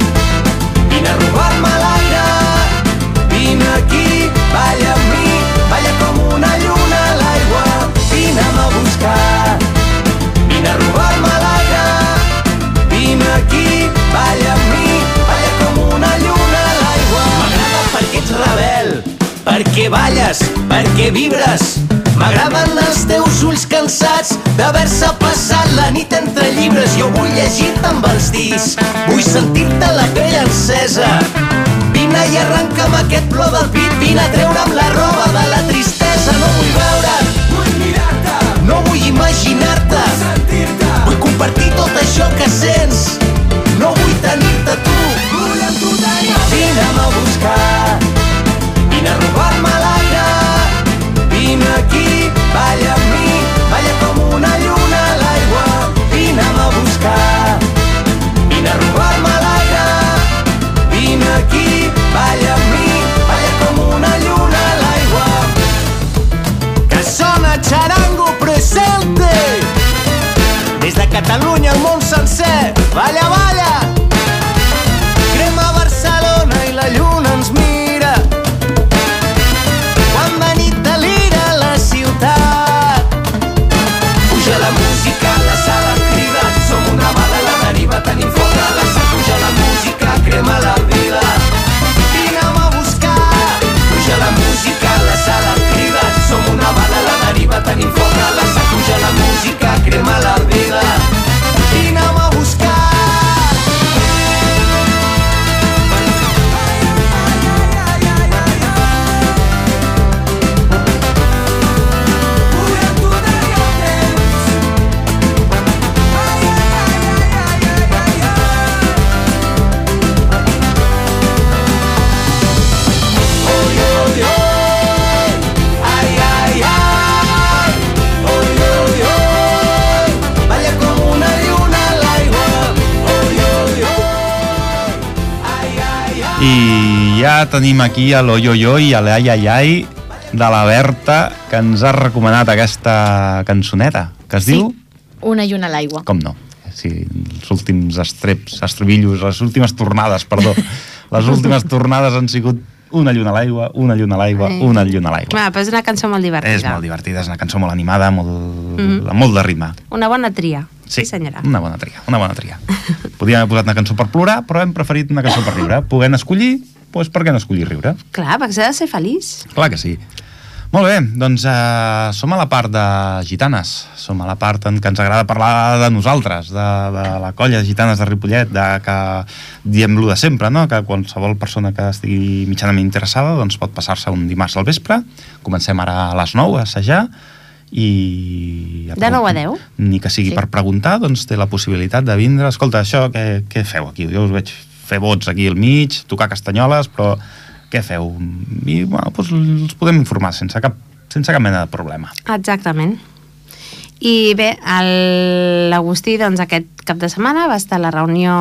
[SPEAKER 5] Vine a robar-me l'aire. Vine aquí, balla amb mi. Balla com una lluna a l'aigua. Vine'm a buscar. Vine a robar-me l'aire. Vine aquí, balla amb mi. Balla com una lluna a l'aigua. M'agrada perquè ets rebel. Perquè balles, perquè vibres. M'agraden els teus ulls cansats d'haver-se passat la nit entre llibres. Jo vull llegir-te amb els dits, vull sentir-te la pell encesa. Vine i arrenca'm aquest plor del pit, vine a treure'm la roba de la tristesa. No vull veure't, vull mirar-te, no vull imaginar-te, vull sentir-te, vull compartir tot això que sents. No vull tenir-te a tu, vull amb tu tenir. Vine'm a buscar, vine a robar-me l'aire, vine aquí, balla amb mi, balla com una lluna a l'aigua. Vine'm a buscar, vine a robar-me l'aire, Vine aquí, balla amb mi, balla com una lluna a l'aigua. Que sona xarango presente! Des de Catalunya al món sencer, balla, balla! Crema Barcelona i la lluna ens mira. Quan de nit delira la ciutat. Puja la música, la sala crida, som una bala a la deriva, tenim foc a la sa. Puja la música, crema la vida, vine'm a buscar. Puja la música, la sala crida, som una bala a la deriva, tenim foc a la sa. Puja la música, crema la vida, vine'm a buscar.
[SPEAKER 2] I ja tenim aquí a l'Oyoyo i a l'Aiaiai de la Berta, que ens ha recomanat aquesta cançoneta, que es
[SPEAKER 4] Sí.
[SPEAKER 2] diu...
[SPEAKER 4] Una lluna a l'aigua.
[SPEAKER 2] Com no? Sí, els últims estreps, estrebillos, les últimes tornades,
[SPEAKER 1] [LAUGHS]
[SPEAKER 2] perdó. les últimes tornades han sigut una lluna a l'aigua, una lluna a l'aigua,
[SPEAKER 1] Ai.
[SPEAKER 2] una lluna a l'aigua.
[SPEAKER 1] Va, però és una cançó molt divertida.
[SPEAKER 2] És molt divertida, és una cançó molt animada, molt,
[SPEAKER 1] Mhm.
[SPEAKER 2] amb molt de ritme.
[SPEAKER 1] Una bona tria. Sí, senyora.
[SPEAKER 2] Una bona tria, una bona tria. Podíem haver posat una cançó per plorar, però hem preferit una cançó per riure. Podent escollir, doncs per què no escollir riure?
[SPEAKER 1] Clar, perquè s'ha de ser feliç.
[SPEAKER 2] Clar que sí. Molt bé, doncs eh, som a la part de gitanes, som a la part en què ens agrada parlar de nosaltres, de, de la colla de gitanes de Ripollet, de que diem lo de sempre, no? que qualsevol persona que estigui mitjanament interessada doncs pot passar-se un dimarts al vespre, comencem ara a les 9 a assajar, i...
[SPEAKER 1] De nou a deu.
[SPEAKER 2] Ni que sigui
[SPEAKER 4] Sí.
[SPEAKER 2] sí. per preguntar, doncs té la possibilitat de vindre, escolta, això què, què feu aquí? Jo us veig fer vots aquí al mig, tocar castanyoles, però què feu? I, bueno, doncs els podem informar sense cap, sense cap mena de problema.
[SPEAKER 1] Exactament. I bé, el- l'Agustí, doncs, aquest cap de setmana va estar a la reunió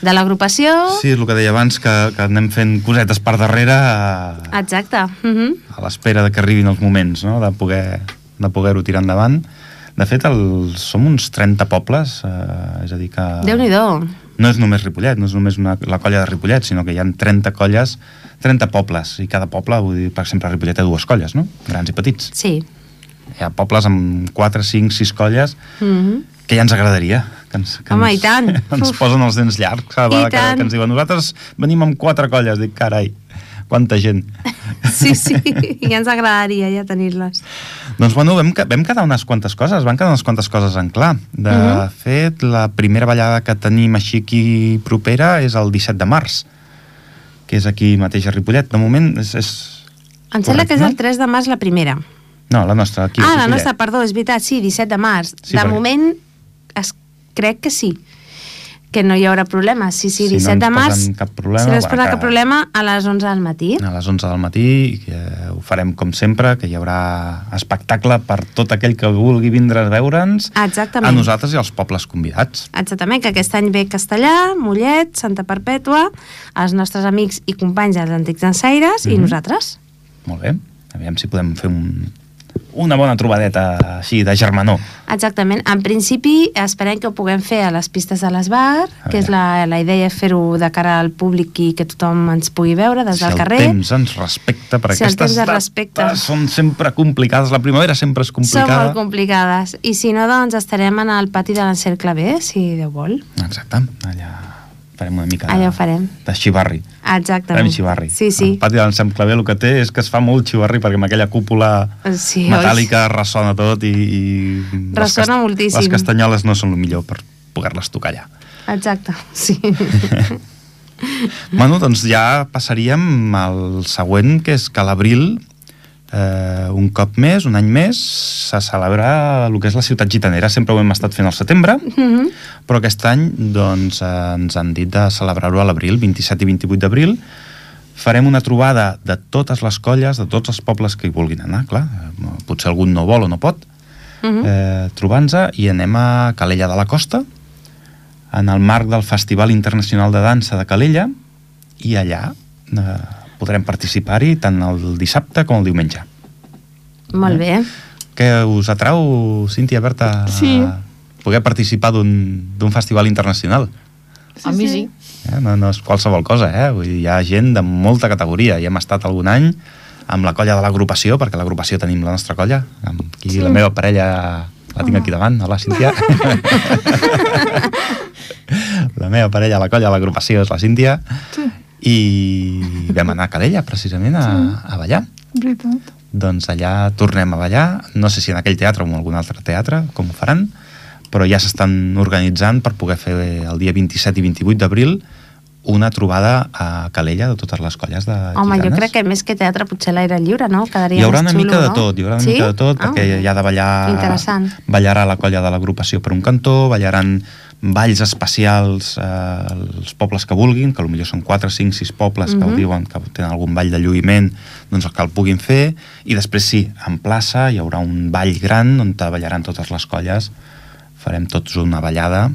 [SPEAKER 1] de l'agrupació.
[SPEAKER 2] Sí, és el que deia abans, que, que anem fent cosetes per darrere a,
[SPEAKER 1] Exacte. Uh -huh.
[SPEAKER 2] a l'espera de que arribin els moments, no?, de poder de poder-ho tirar endavant. De fet, el, som uns 30 pobles, eh, és a dir que...
[SPEAKER 1] Déu-n'hi-do.
[SPEAKER 2] no és només Ripollet, no és només una, la colla de Ripollet, sinó que hi ha 30 colles, 30 pobles, i cada poble, vull dir, per exemple, a Ripollet té dues colles, no? Grans i petits.
[SPEAKER 1] Sí.
[SPEAKER 2] Hi ha pobles amb 4, 5, 6 colles
[SPEAKER 1] Uh -huh.
[SPEAKER 2] que ja ens agradaria. Que ens, que
[SPEAKER 1] Home,
[SPEAKER 2] ens,
[SPEAKER 1] i tant.
[SPEAKER 2] [LAUGHS] Ens
[SPEAKER 1] Uf.
[SPEAKER 2] posen els dents llargs cada
[SPEAKER 1] I
[SPEAKER 2] vegada que,
[SPEAKER 1] tant.
[SPEAKER 2] que ens diuen nosaltres venim amb quatre colles. Dic, carai, quanta gent.
[SPEAKER 1] Sí, sí,
[SPEAKER 2] [LAUGHS]
[SPEAKER 1] ja ens agradaria ja tenir-les.
[SPEAKER 2] Doncs bueno, vam, que- vam quedar unes quantes coses, van quedar unes quantes coses en clar. De
[SPEAKER 1] Mhm.
[SPEAKER 2] fet, la primera ballada que tenim així aquí propera és el 17 de març, que és aquí mateix a Ripollet. De moment és... és...
[SPEAKER 1] Em sembla que és
[SPEAKER 2] Correcte.
[SPEAKER 1] el 3 de març la primera.
[SPEAKER 2] No, la nostra, aquí. a
[SPEAKER 1] ah, la
[SPEAKER 2] Ripollet.
[SPEAKER 1] nostra, perdó, és veritat, sí, 17 de març.
[SPEAKER 2] Sí,
[SPEAKER 1] de
[SPEAKER 2] perquè-
[SPEAKER 1] moment, es, crec que sí. que no hi haurà problema. Sí, sí,
[SPEAKER 2] Si no
[SPEAKER 1] 17
[SPEAKER 2] ens
[SPEAKER 1] de març,
[SPEAKER 2] posen cap problema,
[SPEAKER 1] si no ens
[SPEAKER 2] va,
[SPEAKER 1] posa
[SPEAKER 2] que-
[SPEAKER 1] cap problema, a les 11 del matí.
[SPEAKER 2] a les 11 del matí i que ho farem com sempre, que hi haurà espectacle per tot aquell que vulgui vindre a veure'ns
[SPEAKER 1] Exactament.
[SPEAKER 2] a nosaltres i als pobles convidats.
[SPEAKER 1] Exactament, que aquest any ve Castellà, Mollet, Santa Perpètua, els nostres amics i companys dels Antics Ensaires mm -hmm. i
[SPEAKER 2] Mhm.
[SPEAKER 1] nosaltres.
[SPEAKER 2] Molt bé, aviam si podem fer un, una bona trobadeta així de germanor.
[SPEAKER 1] Exactament. En principi, esperem que ho puguem fer a les pistes de l'Esbar,
[SPEAKER 2] A
[SPEAKER 1] que és la, la idea és fer-ho de cara al públic i que tothom ens pugui veure des
[SPEAKER 2] si
[SPEAKER 1] del
[SPEAKER 2] el
[SPEAKER 1] carrer.
[SPEAKER 2] temps ens respecta, perquè
[SPEAKER 1] Si el
[SPEAKER 2] aquestes
[SPEAKER 1] temps ens respecta.
[SPEAKER 2] dates són sempre complicades, la primavera sempre és
[SPEAKER 1] Són
[SPEAKER 2] complicada.
[SPEAKER 1] molt complicades. I si no, doncs estarem en el pati de l'Encercle B, si Déu vol.
[SPEAKER 2] Exacte, allà farem una mica de,
[SPEAKER 1] Allà ho farem.
[SPEAKER 2] de xivarri.
[SPEAKER 1] Exactament.
[SPEAKER 2] Farem xivarri.
[SPEAKER 1] Sí, sí.
[SPEAKER 2] El pati de l'Ensem Clavé el que té és que es fa molt xivarri perquè amb aquella cúpula
[SPEAKER 1] Sí, oi?
[SPEAKER 2] metàl·lica ressona tot i... i les
[SPEAKER 1] Ressona
[SPEAKER 2] cas-
[SPEAKER 1] moltíssim.
[SPEAKER 2] Les castanyoles no són el millor per poder-les tocar allà.
[SPEAKER 1] Exacte,
[SPEAKER 2] [LAUGHS]
[SPEAKER 1] sí.
[SPEAKER 2] Bueno, doncs ja passaríem al següent, que és que a l'abril, eh, un cop més, un any més, se celebra el que és la ciutat gitanera. Sempre ho hem estat fent al setembre,
[SPEAKER 1] Mhm.
[SPEAKER 2] però aquest any doncs, eh, ens han dit de celebrar-ho a l'abril, 27 i 28 d'abril. Farem una trobada de totes les colles, de tots els pobles que hi vulguin anar, clar. eh, Potser algun no vol o no pot,
[SPEAKER 1] Mhm.
[SPEAKER 2] eh, trobant-se i anem a Calella de la Costa en el marc del Festival Internacional de Dansa de Calella i allà eh, podrem participar-hi tant el dissabte com el diumenge.
[SPEAKER 1] Molt
[SPEAKER 2] Eh?
[SPEAKER 1] bé.
[SPEAKER 2] Què us atrau, Cíntia Berta,
[SPEAKER 3] Sí.
[SPEAKER 2] a poder participar d'un d'un festival internacional?
[SPEAKER 4] A mi sí.
[SPEAKER 2] Eh? No, no és qualsevol cosa, eh? Vull dir, hi ha gent de molta categoria. Hi hem estat algun any amb la colla de l'agrupació, perquè a l'agrupació tenim la nostra colla, amb qui sí. la meva parella la tinc aquí davant, hola Cíntia. la meva parella a la colla de l'agrupació és la Cíntia.
[SPEAKER 3] Sí,
[SPEAKER 2] I vam anar a Calella, precisament, a, a ballar.
[SPEAKER 3] veritat.
[SPEAKER 2] Doncs allà tornem a ballar, no sé si en aquell teatre o en algun altre teatre, com ho faran, però ja s'estan organitzant per poder fer el dia 27 i 28 d'abril una trobada a Calella de totes les colles de
[SPEAKER 1] Home,
[SPEAKER 2] gitanes.
[SPEAKER 1] jo crec que més que teatre potser l'aire lliure, no? Quedaria
[SPEAKER 2] hi haurà una
[SPEAKER 1] més xulo,
[SPEAKER 2] mica de
[SPEAKER 1] no?
[SPEAKER 2] tot, hi haurà una
[SPEAKER 1] sí?
[SPEAKER 2] mica de tot,
[SPEAKER 1] Ah,
[SPEAKER 2] perquè hi ha de ballar...
[SPEAKER 1] Interessant.
[SPEAKER 2] Ballarà la colla de l'agrupació per un cantó, ballaran balls especials eh, als pobles que vulguin, que potser són 4, 5, 6 pobles que
[SPEAKER 1] Mhm.
[SPEAKER 2] ho diuen que tenen algun ball de lluïment, doncs el que el puguin fer, i després sí, en plaça hi haurà un ball gran on te ballaran totes les colles, farem tots una ballada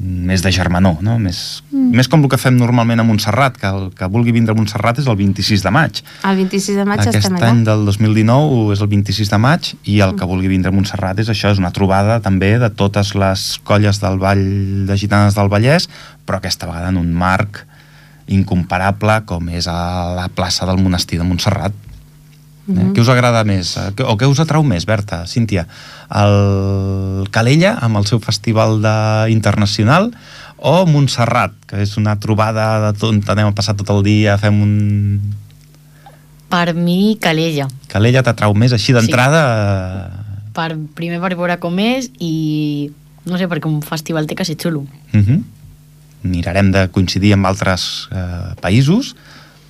[SPEAKER 2] més de germanor, no? Més, mm. més com el que fem normalment a Montserrat, que el que vulgui vindre a Montserrat és el 26 de maig,
[SPEAKER 1] El 26 de maig
[SPEAKER 2] aquest
[SPEAKER 1] estem allà.
[SPEAKER 2] any del 2019 és el 26 de maig i
[SPEAKER 1] Mm.
[SPEAKER 2] el que vulgui vindre a Montserrat és això, és una trobada també de totes les colles del Vall de Gitanes del Vallès, però aquesta vegada en un marc incomparable com és a la plaça del monestir de Montserrat. Mm
[SPEAKER 1] Mm-hmm.
[SPEAKER 2] -hmm. Què us agrada més? Eh, que- O què us atrau més, Berta, Cíntia? El Calella, amb el seu festival de... internacional, o Montserrat, que és una trobada de tot, on anem a passar tot el dia, fem un,
[SPEAKER 4] Per mi, Calella.
[SPEAKER 2] Calella t'atrau més així d'entrada...
[SPEAKER 4] Per, primer per veure com és i... No sé, perquè un festival té que ser xulo.
[SPEAKER 2] Sí. eh, Mirarem de coincidir amb altres eh, països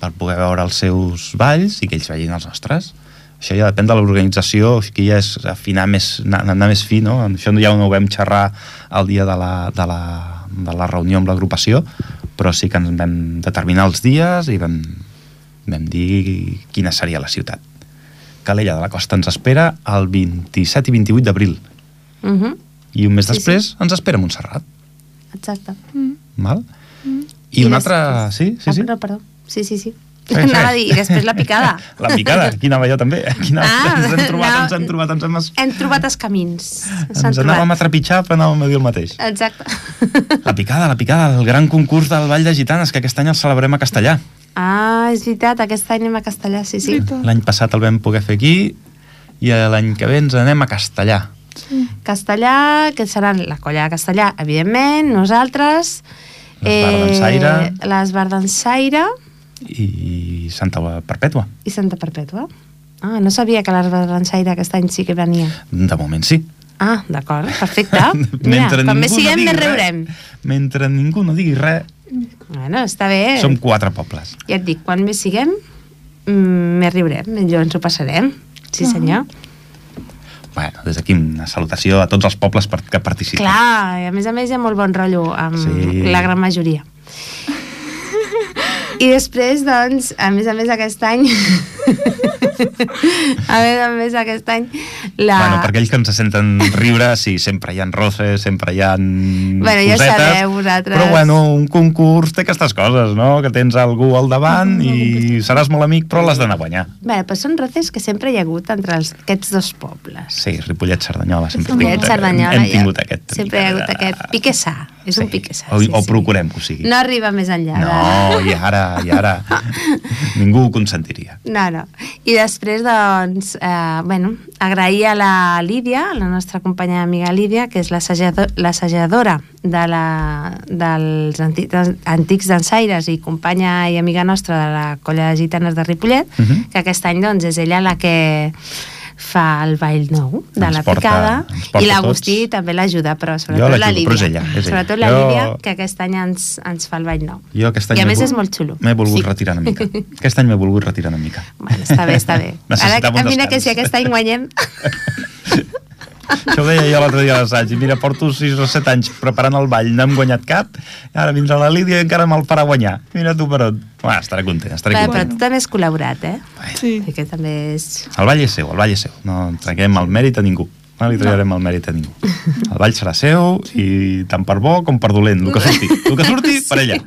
[SPEAKER 2] per poder veure els seus balls i que ells vegin els nostres. Això ja depèn de l'organització, aquí ja és afinar més, anar, anar més fi, no? Això ja no ho vam xerrar el dia de la, de la, de la reunió amb l'agrupació, però sí que ens vam determinar els dies i vam, vam dir quina seria la ciutat. Calella de la Costa ens espera el 27 i 28 d'abril.
[SPEAKER 1] Uh -huh.
[SPEAKER 2] I un mes
[SPEAKER 1] Sí,
[SPEAKER 2] després ens espera Montserrat,
[SPEAKER 1] Exacte.
[SPEAKER 2] val?
[SPEAKER 1] Mm.
[SPEAKER 2] I, I un altre... Sí, sí, sí.
[SPEAKER 1] Ah, perdó, perdó. Sí, sí,
[SPEAKER 2] [LAUGHS]
[SPEAKER 1] sí.
[SPEAKER 2] Segueix,
[SPEAKER 1] [LAUGHS]
[SPEAKER 2] segueix.
[SPEAKER 1] Anava a dir, i després la picada.
[SPEAKER 2] [LAUGHS] La picada, aquí anava jo també. Aquí anava,
[SPEAKER 1] Ah,
[SPEAKER 2] ens hem trobat,
[SPEAKER 1] no.
[SPEAKER 2] ens hem trobat, ens hem... es-
[SPEAKER 1] [LAUGHS] Hem trobat els camins. S'han
[SPEAKER 2] Ens anàvem a
[SPEAKER 1] trobat. Eh.
[SPEAKER 2] trepitjar, però anàvem a dir el mateix.
[SPEAKER 1] Exacte.
[SPEAKER 2] La picada, la picada, el gran concurs del Vall de Gitanes, que aquest any el celebrem a castellà.
[SPEAKER 1] [LAUGHS] Ah, és veritat, aquest any anem a castellà, sí, sí.
[SPEAKER 3] Veritat.
[SPEAKER 2] L'any passat el vam poder fer aquí i l'any que ve ens anem a castellà.
[SPEAKER 1] Castellà, que seran la colla de castellà, evidentment, nosaltres... Eh,
[SPEAKER 2] L'Esbar d'Ensaire.
[SPEAKER 1] L'Esbar d'Ensaire
[SPEAKER 2] I Santa Perpètua.
[SPEAKER 1] i Santa Perpètua. Ah, no sabia que l'Esbar d'Ensaire aquest any sí que venia.
[SPEAKER 2] De moment sí.
[SPEAKER 1] Ah, d'acord,
[SPEAKER 2] [LAUGHS]
[SPEAKER 1] perfecte. Mira, com més
[SPEAKER 2] ningú
[SPEAKER 1] siguem, més
[SPEAKER 2] digui res,
[SPEAKER 1] riurem.
[SPEAKER 2] Mentre ningú no digui res,
[SPEAKER 1] Bueno, està bé.
[SPEAKER 2] som quatre pobles.
[SPEAKER 1] Ja et dic, quan més siguem, mm, més riurem, millor ens ho passarem. Sí, senyor.
[SPEAKER 2] bueno, des d'aquí una salutació a tots els pobles per, que participen.
[SPEAKER 1] Clar, i a més a més hi ha molt bon rotllo amb
[SPEAKER 2] Sí.
[SPEAKER 1] sí. la gran majoria. I després, doncs, a més a més aquest any... [LAUGHS] a més a més aquest any... La...
[SPEAKER 2] Bueno, per aquells que ens senten riure, sí, sempre hi ha roces, sempre hi ha bueno,
[SPEAKER 1] ja
[SPEAKER 2] cosetes.
[SPEAKER 1] sabeu, vosaltres.
[SPEAKER 2] Però bueno, un concurs té aquestes coses, no? Que tens algú al davant i seràs molt amic, però l'has d'anar a guanyar.
[SPEAKER 1] Bé, però són roces que sempre hi ha hagut entre els, aquests dos pobles.
[SPEAKER 2] Sí, Ripollet-Cerdanyola, sempre hem
[SPEAKER 1] Ripollet,
[SPEAKER 2] tingut,
[SPEAKER 1] Cerdanyola,
[SPEAKER 2] hem
[SPEAKER 1] hi ha-
[SPEAKER 2] tingut aquest.
[SPEAKER 1] Sempre hi ha hagut aquest piquessà, és un piquessà,
[SPEAKER 2] O,
[SPEAKER 1] sí,
[SPEAKER 2] o
[SPEAKER 1] sí.
[SPEAKER 2] procurem que ho sigui.
[SPEAKER 1] No arriba més enllà. de-
[SPEAKER 2] no i ara, i
[SPEAKER 1] [LAUGHS]
[SPEAKER 2] ara. Ningú ho consentiria.
[SPEAKER 1] No, no. I després, doncs, eh, bueno, agrair a la Lídia, la nostra companya i amiga Lídia, que és l'assajado- l'assajadora de la, dels anti- dels antics dansaires i companya i amiga nostra de la colla de gitanes de Ripollet, uh
[SPEAKER 2] Mhm.
[SPEAKER 1] -huh. que aquest any doncs, és ella la que fa el ball nou de
[SPEAKER 2] Ens
[SPEAKER 1] la
[SPEAKER 2] porta-
[SPEAKER 1] picada
[SPEAKER 2] ens porta
[SPEAKER 1] i l'Agustí
[SPEAKER 2] tots.
[SPEAKER 1] també l'ajuda, però sobretot la
[SPEAKER 2] l'ajudo,
[SPEAKER 1] Lídia.
[SPEAKER 2] però és ella, és ella.
[SPEAKER 1] Sobretot la
[SPEAKER 2] Jo-
[SPEAKER 1] Lídia, que aquest any ens, ens fa el ball nou.
[SPEAKER 2] Jo aquest any
[SPEAKER 1] I a
[SPEAKER 2] m'he
[SPEAKER 1] més
[SPEAKER 2] vol-
[SPEAKER 1] és molt xulo.
[SPEAKER 2] M'he volgut
[SPEAKER 1] Sí.
[SPEAKER 2] sí. retirar una mica. Aquest any m'he volgut retirar una mica.
[SPEAKER 1] Bueno, està bé, està
[SPEAKER 2] [LAUGHS]
[SPEAKER 1] bé.
[SPEAKER 2] Necessitava
[SPEAKER 1] Ara,
[SPEAKER 2] un
[SPEAKER 1] mira
[SPEAKER 2] descans.
[SPEAKER 1] que si aquest any guanyem...
[SPEAKER 2] [LAUGHS] Això ho deia jo l'altre dia a l'assaig. Mira, porto 6 o 7 anys preparant el ball, no hem guanyat cap, ara vindrà la Lídia i encara me'l farà guanyar. Mira tu per on. Va, estarà content, estarà
[SPEAKER 1] Clar, però
[SPEAKER 2] content.
[SPEAKER 1] tu també has col·laborat, eh?
[SPEAKER 3] Sí.
[SPEAKER 1] Perquè també és...
[SPEAKER 2] El ball és seu, el ball és seu. No traguem el mèrit a ningú. No li traurem el mèrit a ningú. El ball serà seu i tant per bo com per dolent, el que surti. El que surti,
[SPEAKER 1] [LAUGHS]
[SPEAKER 2] per allà.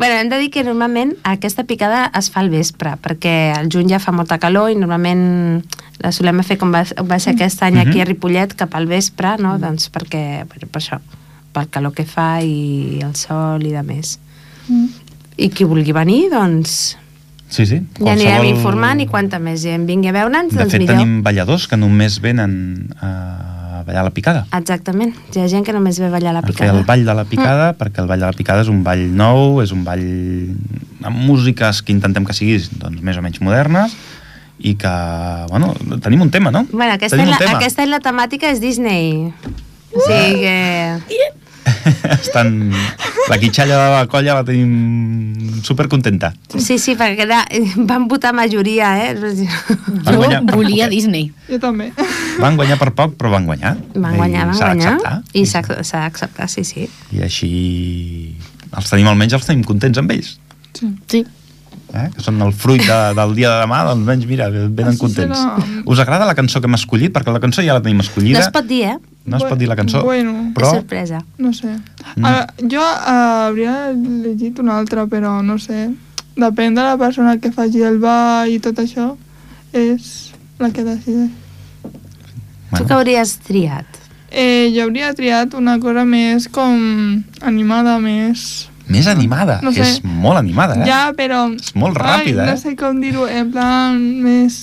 [SPEAKER 1] Bueno, hem de dir que normalment aquesta picada es fa al vespre, perquè al juny ja fa molta calor i normalment la solem fer com va, va
[SPEAKER 2] Mm.
[SPEAKER 1] ser aquest any
[SPEAKER 2] Mhm.
[SPEAKER 1] aquí a Ripollet, cap al vespre, no? Doncs perquè, per, per això, pel calor que fa i el sol i de més.
[SPEAKER 3] Mm.
[SPEAKER 1] I qui vulgui venir, doncs,
[SPEAKER 2] Sí, sí.
[SPEAKER 1] ja anirem informant i quanta més gent vingui a veure'ns,
[SPEAKER 2] De
[SPEAKER 1] doncs
[SPEAKER 2] fet,
[SPEAKER 1] millor.
[SPEAKER 2] tenim balladors que només venen a ballar la picada.
[SPEAKER 1] Exactament. Hi ha gent que només ve a ballar la
[SPEAKER 2] a fer
[SPEAKER 1] picada.
[SPEAKER 2] el ball de la picada, mm. perquè el ball de la picada és un ball nou, és un ball amb músiques que intentem que siguis doncs, més o menys modernes, i que, bueno, tenim un tema, no?
[SPEAKER 1] Bueno, aquesta, és
[SPEAKER 2] tenim
[SPEAKER 1] la,
[SPEAKER 2] un tema.
[SPEAKER 1] aquesta és la temàtica és Disney. O sigui que...
[SPEAKER 2] [LAUGHS] Estan... La quitxalla de la colla la tenim supercontenta.
[SPEAKER 1] Sí, sí, perquè era, van votar majoria, eh?
[SPEAKER 2] Van
[SPEAKER 4] Jo
[SPEAKER 2] guanyar per
[SPEAKER 4] volia
[SPEAKER 2] poquet.
[SPEAKER 4] Disney.
[SPEAKER 3] Jo també.
[SPEAKER 2] Van guanyar per poc, però van guanyar.
[SPEAKER 1] Van guanyar,
[SPEAKER 2] I
[SPEAKER 1] van
[SPEAKER 2] s'ha
[SPEAKER 1] guanyar.
[SPEAKER 2] d'acceptar.
[SPEAKER 1] I s'ha s'ha d'acceptar, sí, sí.
[SPEAKER 2] I així... Els tenim, almenys els tenim contents amb ells.
[SPEAKER 3] Sí.
[SPEAKER 4] Sí.
[SPEAKER 2] eh? que són el fruit de, del dia de demà, doncs menys, mira, venen
[SPEAKER 3] Això
[SPEAKER 2] contents.
[SPEAKER 3] serà-
[SPEAKER 2] Us agrada la cançó que hem escollit? Perquè la cançó ja la tenim
[SPEAKER 1] No
[SPEAKER 2] escollida.
[SPEAKER 1] es pot dir, eh?
[SPEAKER 2] no es pot dir la cançó,
[SPEAKER 3] Bueno.
[SPEAKER 1] Però...
[SPEAKER 2] però
[SPEAKER 1] És sorpresa.
[SPEAKER 3] No sé.
[SPEAKER 2] Mm.
[SPEAKER 3] Mm. Ara, jo eh, hauria llegit una altra, però no sé. Depèn de la persona que faci el ball i tot això, és la que decideix.
[SPEAKER 1] Tu que hauries triat?
[SPEAKER 3] Eh, jo hauria triat una cosa més com animada, més...
[SPEAKER 2] més animada.
[SPEAKER 3] No sé.
[SPEAKER 2] És molt animada, eh?
[SPEAKER 3] Ja, però...
[SPEAKER 2] És molt ràpida,
[SPEAKER 3] ai,
[SPEAKER 2] eh?
[SPEAKER 3] No sé com dir-ho, en plan més...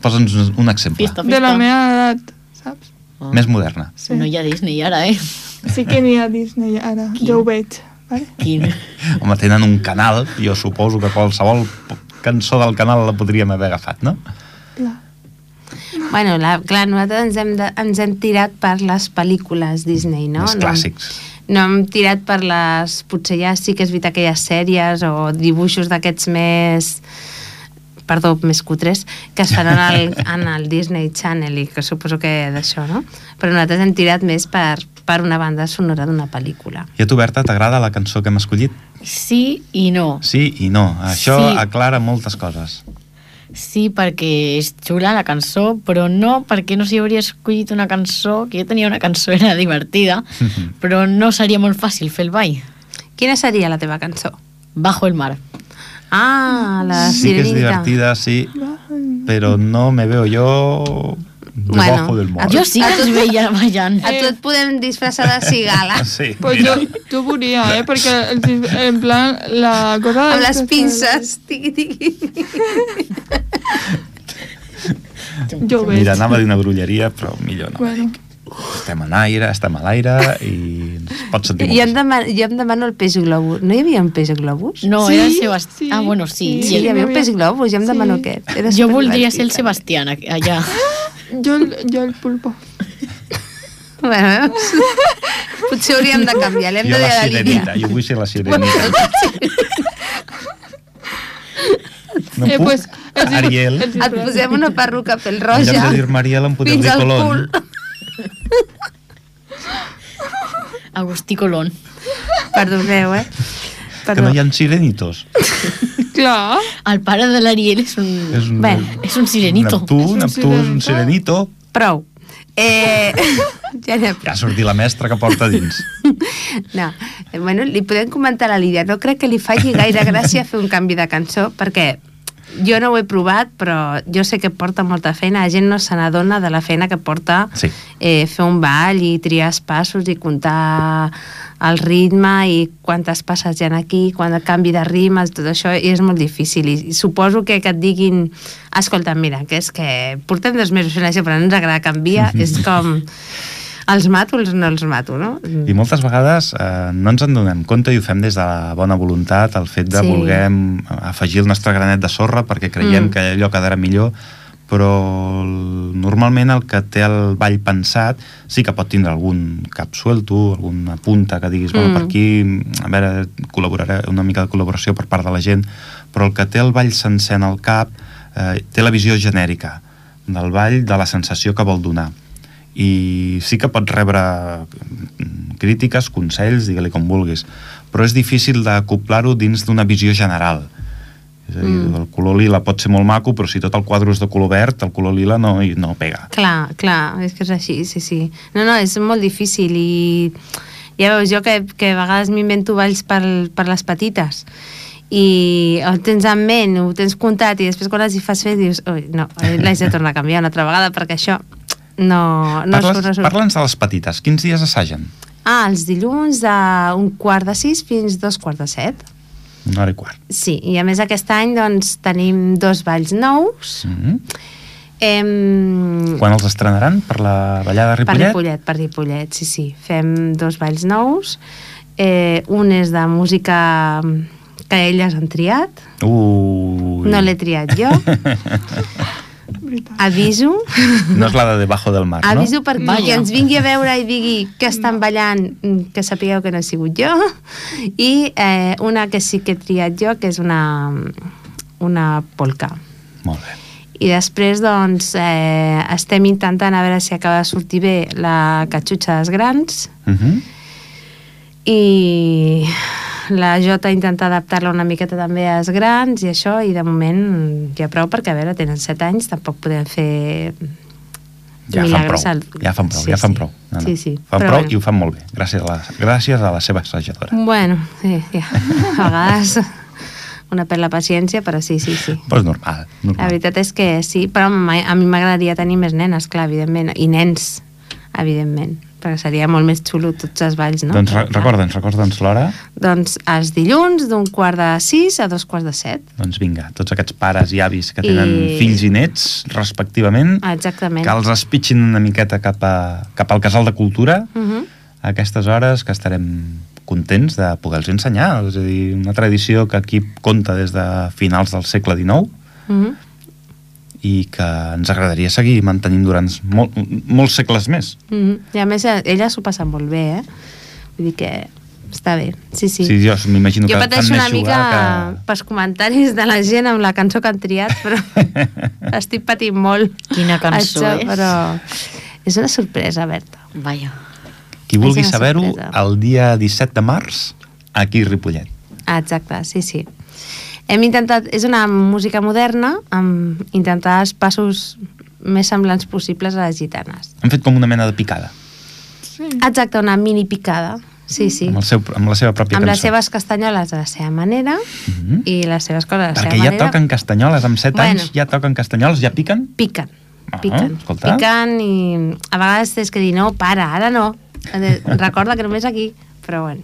[SPEAKER 2] Posa'ns un, un exemple.
[SPEAKER 4] Fista, fista.
[SPEAKER 3] de la meva edat, saps?
[SPEAKER 4] Ah.
[SPEAKER 2] Més moderna.
[SPEAKER 3] Sí.
[SPEAKER 4] No hi ha Disney ara, eh?
[SPEAKER 3] Sí que n'hi ha Disney ara, jo ho veig. Vale?
[SPEAKER 4] Quin...
[SPEAKER 2] Home, tenen un canal, jo suposo que qualsevol p- cançó del canal la podríem haver agafat, no?
[SPEAKER 3] Clar.
[SPEAKER 1] Bueno, la, clar, nosaltres ens hem, de, ens hem tirat per les pel·lícules Disney, no?
[SPEAKER 2] Més
[SPEAKER 1] No-
[SPEAKER 2] clàssics.
[SPEAKER 1] no hem tirat per les... Potser ja sí que és veritat que hi ha sèries o dibuixos d'aquests més perdó, més cutres, que es faran
[SPEAKER 2] [LAUGHS]
[SPEAKER 1] al, en el Disney Channel i que suposo que d'això, no? Però nosaltres hem tirat més per, per una banda sonora d'una pel·lícula.
[SPEAKER 2] I a tu, Berta, t'agrada la cançó que hem escollit?
[SPEAKER 4] Sí i no.
[SPEAKER 2] Sí i no. Això
[SPEAKER 4] Sí.
[SPEAKER 2] aclara moltes coses. [LAUGHS]
[SPEAKER 4] Sí, perquè és xula la cançó, però no perquè no s'hi hauria escollit una cançó, que jo tenia una cançó, era divertida, però no seria molt fàcil fer el ball.
[SPEAKER 1] Quina seria la teva cançó?
[SPEAKER 4] Bajo el mar.
[SPEAKER 1] Ah, la
[SPEAKER 2] sí que és
[SPEAKER 1] sirenita.
[SPEAKER 2] divertida, sí, però no me veo yo
[SPEAKER 1] Bueno,
[SPEAKER 2] debajo del mar.
[SPEAKER 1] a
[SPEAKER 4] Jo sí que
[SPEAKER 1] A tu-
[SPEAKER 4] els veia
[SPEAKER 3] [LAUGHS]
[SPEAKER 4] ballant.
[SPEAKER 1] A tu et podem disfressar de cigala.
[SPEAKER 2] Ah, Sí,
[SPEAKER 3] Pues
[SPEAKER 2] mira.
[SPEAKER 3] jo, jo volia, eh? Perquè, el, dis- en plan, la cosa...
[SPEAKER 1] Amb
[SPEAKER 3] del
[SPEAKER 1] les
[SPEAKER 3] que-
[SPEAKER 1] pinces. Tiqui, tiqui.
[SPEAKER 3] Jo ho veig.
[SPEAKER 2] Mira, anava a dir una grolleria, però millor no.
[SPEAKER 3] Bueno,
[SPEAKER 2] Estem en aire, estem a l'aire i ens pot sentir
[SPEAKER 1] Jo em,
[SPEAKER 2] molt.
[SPEAKER 1] demano, jo em demano el peix globus. No hi havia un peix globus?
[SPEAKER 4] No,
[SPEAKER 3] Sí,
[SPEAKER 4] era el Sebastián.
[SPEAKER 3] sí,
[SPEAKER 4] ah, bueno, sí.
[SPEAKER 1] Sí,
[SPEAKER 3] sí.
[SPEAKER 4] i
[SPEAKER 1] hi
[SPEAKER 4] el-
[SPEAKER 1] havia un
[SPEAKER 3] havia-
[SPEAKER 1] peix globo, jo em
[SPEAKER 3] sí.
[SPEAKER 1] demano aquest. Era
[SPEAKER 4] Jo voldria ser el
[SPEAKER 1] superdivertit,
[SPEAKER 4] Sebastián a- allà.
[SPEAKER 3] jo, el- jo el pulpo.
[SPEAKER 1] també. Bueno, [LAUGHS] veus? potser hauríem de canviar, l'hem de
[SPEAKER 2] Jo
[SPEAKER 1] dir
[SPEAKER 2] la
[SPEAKER 1] a la
[SPEAKER 2] sirenita,
[SPEAKER 1] Lídia.
[SPEAKER 2] jo vull ser la sirenita. No
[SPEAKER 3] eh,
[SPEAKER 2] puc,
[SPEAKER 3] pues,
[SPEAKER 2] Ariel.
[SPEAKER 1] Et posem una perruca pel
[SPEAKER 2] En lloc
[SPEAKER 1] roja
[SPEAKER 2] de dir Mariel, em podeu
[SPEAKER 1] fins
[SPEAKER 2] dir
[SPEAKER 1] al cul.
[SPEAKER 2] Colón.
[SPEAKER 1] [LAUGHS]
[SPEAKER 4] Agustí Colón.
[SPEAKER 1] Perdoneu, eh?
[SPEAKER 2] Que no hi ha sirenitos.
[SPEAKER 3] Clar,
[SPEAKER 4] El pare de l'Ariel és un...
[SPEAKER 2] És un,
[SPEAKER 1] Bé,
[SPEAKER 4] És un sirenito.
[SPEAKER 2] Neptú,
[SPEAKER 3] És un
[SPEAKER 2] Neptú, és un
[SPEAKER 3] sirenito.
[SPEAKER 2] sirenito.
[SPEAKER 1] Prou. Eh, [LAUGHS] ja anem.
[SPEAKER 2] Ja ha sortit la mestra que porta dins.
[SPEAKER 1] No, Eh, bueno, li podem comentar a la Lídia. No crec que li faci gaire gràcia fer un canvi de cançó, perquè jo no ho he provat, però jo sé que porta molta feina. La gent no se n'adona de la feina que porta
[SPEAKER 2] Sí.
[SPEAKER 1] eh, fer un ball i triar els passos i comptar el ritme i quantes passes hi ha aquí, quan el canvi de rimes, tot això, i és molt difícil. I, i suposo que, que et diguin, escolta, mira, que és que portem dos mesos fent això, però no ens agrada canviar, és com... Els mato, els no els mato, no?
[SPEAKER 2] I moltes vegades eh, no ens en donem compte i ho fem des de la bona voluntat, el fet de
[SPEAKER 1] Sí.
[SPEAKER 2] sí. voler afegir el nostre granet de sorra perquè creiem
[SPEAKER 1] Mm.
[SPEAKER 2] mm. que allò quedarà millor, però el- normalment el que té el ball pensat sí que pot tindre algun cap suelto, alguna punta que diguis, bueno,
[SPEAKER 1] Mm.
[SPEAKER 2] per aquí, a veure, col·laboraré, una mica de col·laboració per part de la gent, però el que té el ball sencer en el cap eh, té la visió genèrica del ball, de la sensació que vol donar i sí que pots rebre mm, crítiques, consells, digue-li com vulguis, però és difícil d'acoplar-ho dins d'una visió general. És a dir,
[SPEAKER 1] Mm.
[SPEAKER 2] mm. el color lila pot ser molt maco, però si tot el quadre és de color verd, el color lila no, i no pega.
[SPEAKER 1] Clar, clar, és que és així, sí, sí. No, no, és molt difícil i ja veus, jo que, que a vegades m'invento balls per, per les petites i el tens en ment, ho tens comptat i després quan els hi fas fer dius ui, no, eh, l'haig de tornar a canviar una altra vegada perquè això no, no surt, no
[SPEAKER 2] Parles-
[SPEAKER 1] surt.
[SPEAKER 2] Parla'ns de les petites. Quins dies assagen?
[SPEAKER 1] Ah, els dilluns de un quart de sis fins dos quarts de set.
[SPEAKER 2] Una hora i quart.
[SPEAKER 1] Sí, i a més aquest any doncs tenim dos balls nous.
[SPEAKER 2] Mm -hmm.
[SPEAKER 1] Em...
[SPEAKER 2] Quan els estrenaran? Per la ballada de
[SPEAKER 1] Per
[SPEAKER 2] Ripollet?
[SPEAKER 1] Ripollet, per Ripollet, sí, sí. Fem dos balls nous. Eh, un és de música que elles han triat.
[SPEAKER 2] Ui.
[SPEAKER 1] No l'he triat
[SPEAKER 2] [LAUGHS]
[SPEAKER 1] jo.
[SPEAKER 3] veritat.
[SPEAKER 1] Aviso.
[SPEAKER 2] No és la de Debajo del Mar, no?
[SPEAKER 1] Aviso perquè qui
[SPEAKER 4] Vaja.
[SPEAKER 1] ens vingui a veure i digui que estan ballant, mm, que sapigueu que no he sigut jo. I eh, una que sí que he triat jo, que és una, una polca.
[SPEAKER 2] Molt bé.
[SPEAKER 1] I després, doncs, eh, estem intentant a veure si acaba de sortir bé la catxutxa dels grans,
[SPEAKER 2] Uh -huh.
[SPEAKER 1] i la Jota intenta adaptar-la una miqueta també als grans i això, i de moment ja prou perquè, a veure, tenen 7 anys, tampoc podem fer...
[SPEAKER 2] Ja fan prou,
[SPEAKER 1] milagres al-
[SPEAKER 2] ja fan prou,
[SPEAKER 1] Sí,
[SPEAKER 2] ja fan
[SPEAKER 1] sí.
[SPEAKER 2] prou.
[SPEAKER 1] Sí, sí.
[SPEAKER 2] Fan
[SPEAKER 1] Però
[SPEAKER 2] prou
[SPEAKER 1] bueno. Mm.
[SPEAKER 2] i ho fan molt bé, gràcies a la, gràcies a la seva assajadora.
[SPEAKER 1] Bueno, sí, ja. a vegades una perd la paciència, però sí, sí, sí.
[SPEAKER 2] Però és normal, normal.
[SPEAKER 1] La veritat és que sí, però mai- a mi m'agradaria tenir més nenes, clar, evidentment, i nens, evidentment, perquè seria molt més xulo tots els balls, no? Ah.
[SPEAKER 2] Doncs re recorda'ns, recorda'ns l'hora.
[SPEAKER 1] Doncs els dilluns d'un quart de sis a dos quarts de set.
[SPEAKER 2] Doncs vinga, tots aquests pares i avis que tenen
[SPEAKER 1] I-
[SPEAKER 2] fills i nets, respectivament,
[SPEAKER 1] Exactament.
[SPEAKER 2] que els espitxin una miqueta cap, a, cap al Casal de Cultura,
[SPEAKER 1] Uh -huh.
[SPEAKER 2] a aquestes hores que estarem contents de poder-los ensenyar. És a dir, una tradició que aquí compta des de finals del segle XIX,
[SPEAKER 1] Uh -huh.
[SPEAKER 2] i que ens agradaria seguir mantenint durant mol, molts segles més.
[SPEAKER 1] Mm -hmm. I a més, eh, elles s'ho passen molt bé, eh? Vull dir que està bé, sí, sí.
[SPEAKER 2] Sí, sí jo m'imagino que
[SPEAKER 1] jo pateixo
[SPEAKER 2] fan
[SPEAKER 1] una
[SPEAKER 2] més
[SPEAKER 1] mica [LAUGHS]
[SPEAKER 2] jugar
[SPEAKER 1] que... pels comentaris de la gent amb la cançó que han triat,
[SPEAKER 2] [LAUGHS]
[SPEAKER 1] però estic patint molt.
[SPEAKER 4] Quina cançó és?
[SPEAKER 1] Però és una sorpresa, Berta.
[SPEAKER 4] Vaja.
[SPEAKER 2] que... Qui vulgui
[SPEAKER 1] és una
[SPEAKER 2] saber-ho,
[SPEAKER 1] sorpresa.
[SPEAKER 2] el dia 17 de març, aquí a Ripollet.
[SPEAKER 1] Ah, Exacte, sí, sí. Hem intentat, és una música moderna, amb intentar els passos més semblants possibles a les gitanes.
[SPEAKER 2] Han fet com una mena de picada,
[SPEAKER 3] Sí.
[SPEAKER 1] Exacte, una mini picada, sí, sí.
[SPEAKER 2] amb, el seu, amb la seva pròpia
[SPEAKER 1] amb
[SPEAKER 2] cançó.
[SPEAKER 1] les seves castanyoles de la seva manera
[SPEAKER 2] Mhm.
[SPEAKER 1] i les seves coses de la
[SPEAKER 2] Perquè
[SPEAKER 1] seva
[SPEAKER 2] ja
[SPEAKER 1] manera
[SPEAKER 2] toquen castanyoles, amb 7
[SPEAKER 1] Bueno.
[SPEAKER 2] anys ja toquen castanyoles, ja piquen?
[SPEAKER 1] piquen
[SPEAKER 2] Ah,
[SPEAKER 1] piquen,
[SPEAKER 2] escolta.
[SPEAKER 1] piquen i a vegades tens que dir no, para, ara no Eh, recorda que només aquí però bueno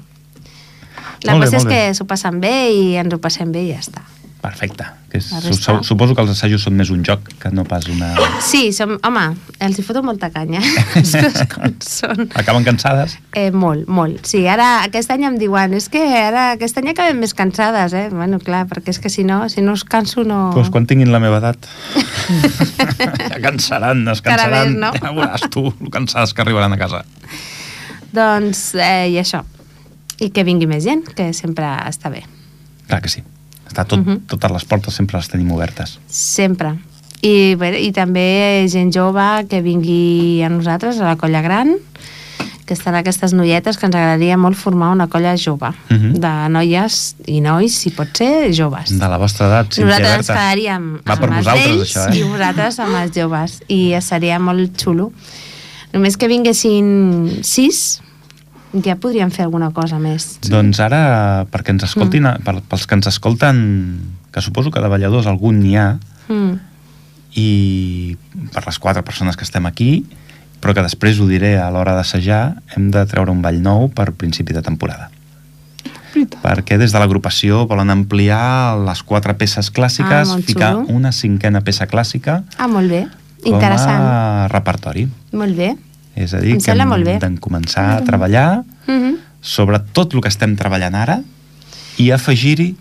[SPEAKER 1] la
[SPEAKER 2] Molt bé,
[SPEAKER 1] cosa és
[SPEAKER 2] molt bé.
[SPEAKER 1] que s'ho passen bé i ens ho passem bé i ja està
[SPEAKER 2] Perfecte. Que és,
[SPEAKER 1] La resta-
[SPEAKER 2] su- suposo que els assajos són més un joc que no pas una...
[SPEAKER 1] sí, som, home, els hi foto molta canya [LAUGHS] les coses com són
[SPEAKER 2] Acaben cansades.
[SPEAKER 1] Eh, molt, molt. Sí, ara aquest any em diuen, és que ara aquest any acabem més cansades, eh? Bueno, clar, perquè és que si no, si no us canso no...
[SPEAKER 2] Doncs pues quan tinguin la meva edat... [LAUGHS] ja cansaran, es
[SPEAKER 1] Cada
[SPEAKER 2] cansaran.
[SPEAKER 1] vez, no?
[SPEAKER 2] Ja veuràs tu, el cansades que arribaran a casa.
[SPEAKER 1] Doncs, eh, i això. I que vingui més gent, que sempre està bé.
[SPEAKER 2] Clar que sí. Està tot,
[SPEAKER 1] Mhm.
[SPEAKER 2] Totes les portes sempre les tenim obertes.
[SPEAKER 1] Sempre. I, bé, I també gent jove que vingui a nosaltres, a la colla gran, que estan aquestes noietes que ens agradaria molt formar una colla jove,
[SPEAKER 2] Mhm.
[SPEAKER 1] de noies i nois, si pot ser, joves.
[SPEAKER 2] De la vostra edat, Sílvia
[SPEAKER 1] nosaltres ens
[SPEAKER 2] Berta.
[SPEAKER 1] quedaríem
[SPEAKER 2] Va per
[SPEAKER 1] amb els
[SPEAKER 2] vosaltres,
[SPEAKER 1] vells
[SPEAKER 2] això, eh?
[SPEAKER 1] i vosaltres amb els joves. I seria molt xulo. Només que vinguessin sis, ja podríem fer alguna cosa més.
[SPEAKER 2] Doncs ara, perquè ens
[SPEAKER 1] Mm.
[SPEAKER 2] escoltin, eh, per, pels que ens escolten, que suposo que de balladors algun n'hi ha,
[SPEAKER 1] Mm.
[SPEAKER 2] i per les quatre persones que estem aquí, però que després ho diré a l'hora d'assajar, hem de treure un ball nou per principi de temporada.
[SPEAKER 3] Veritat.
[SPEAKER 2] Perquè des de l'agrupació volen ampliar les quatre peces
[SPEAKER 1] Ah,
[SPEAKER 2] clàssiques,
[SPEAKER 1] molt
[SPEAKER 2] ficar
[SPEAKER 1] xulo.
[SPEAKER 2] una cinquena peça clàssica
[SPEAKER 1] Ah, molt bé.
[SPEAKER 2] com
[SPEAKER 1] Interessant.
[SPEAKER 2] a repertori.
[SPEAKER 1] Molt bé.
[SPEAKER 2] És a dir,
[SPEAKER 1] Em
[SPEAKER 2] que
[SPEAKER 1] sembla molt bé.
[SPEAKER 2] hem de començar a treballar
[SPEAKER 1] Mm -hmm.
[SPEAKER 2] sobre tot el que estem treballant ara i afegir-hi...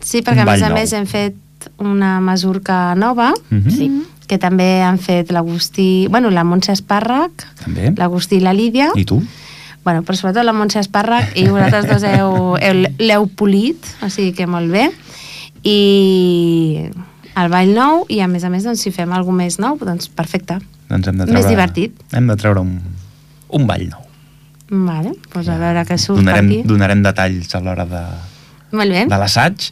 [SPEAKER 1] Sí, perquè
[SPEAKER 2] Un
[SPEAKER 1] a més
[SPEAKER 2] ball
[SPEAKER 1] a
[SPEAKER 2] nou.
[SPEAKER 1] més hem fet una mesurca nova,
[SPEAKER 2] Mhm,
[SPEAKER 4] Sí.
[SPEAKER 1] que també han fet l'Agustí... Bueno, la Montse Espàrrec,
[SPEAKER 2] També.
[SPEAKER 1] l'Agustí i la Lídia.
[SPEAKER 2] Mm-hmm. I tu?
[SPEAKER 1] Bueno, però sobretot la Montse Espàrrec i vosaltres dos
[SPEAKER 2] [LAUGHS]
[SPEAKER 1] heu, heu, l'heu polit, o sigui que molt bé. I el ball nou, i a més a més, doncs, si fem alguna més nou, doncs perfecte.
[SPEAKER 2] Doncs hem de
[SPEAKER 1] Més
[SPEAKER 2] treure,
[SPEAKER 1] divertit.
[SPEAKER 2] Hem de treure un, un ball nou.
[SPEAKER 1] Vale, doncs a veure què surt
[SPEAKER 2] donarem,
[SPEAKER 1] per aquí.
[SPEAKER 2] Donarem detalls a l'hora de,
[SPEAKER 1] Molt bé.
[SPEAKER 2] de l'assaig.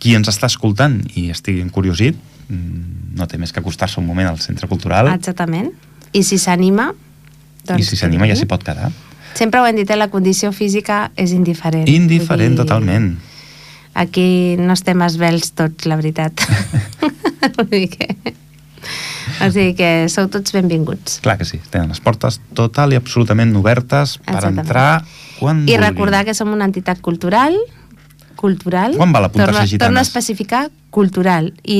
[SPEAKER 2] Qui ens està escoltant i estigui encuriosit, mm, no té més que acostar-se un moment al centre cultural
[SPEAKER 1] Exactament. I si s'anima... doncs
[SPEAKER 2] i si s'anima ja
[SPEAKER 1] que
[SPEAKER 2] s'hi
[SPEAKER 1] vingui.
[SPEAKER 2] pot quedar.
[SPEAKER 1] Sempre ho hem dit, eh, la condició física és indiferent. Vull
[SPEAKER 2] Indiferent
[SPEAKER 1] dir,
[SPEAKER 2] totalment.
[SPEAKER 1] Aquí no estem esvelts tots, la
[SPEAKER 2] [LAUGHS]
[SPEAKER 1] veritat. Vull dir que... O sigui que sou tots benvinguts.
[SPEAKER 2] Clar que sí, tenen les portes total i absolutament obertes per
[SPEAKER 1] Exactament.
[SPEAKER 2] entrar quan
[SPEAKER 1] I recordar que som una entitat cultural, cultural...
[SPEAKER 2] Quan val apuntar-se
[SPEAKER 1] torno,
[SPEAKER 2] a gitanes?
[SPEAKER 1] torno a especificar cultural i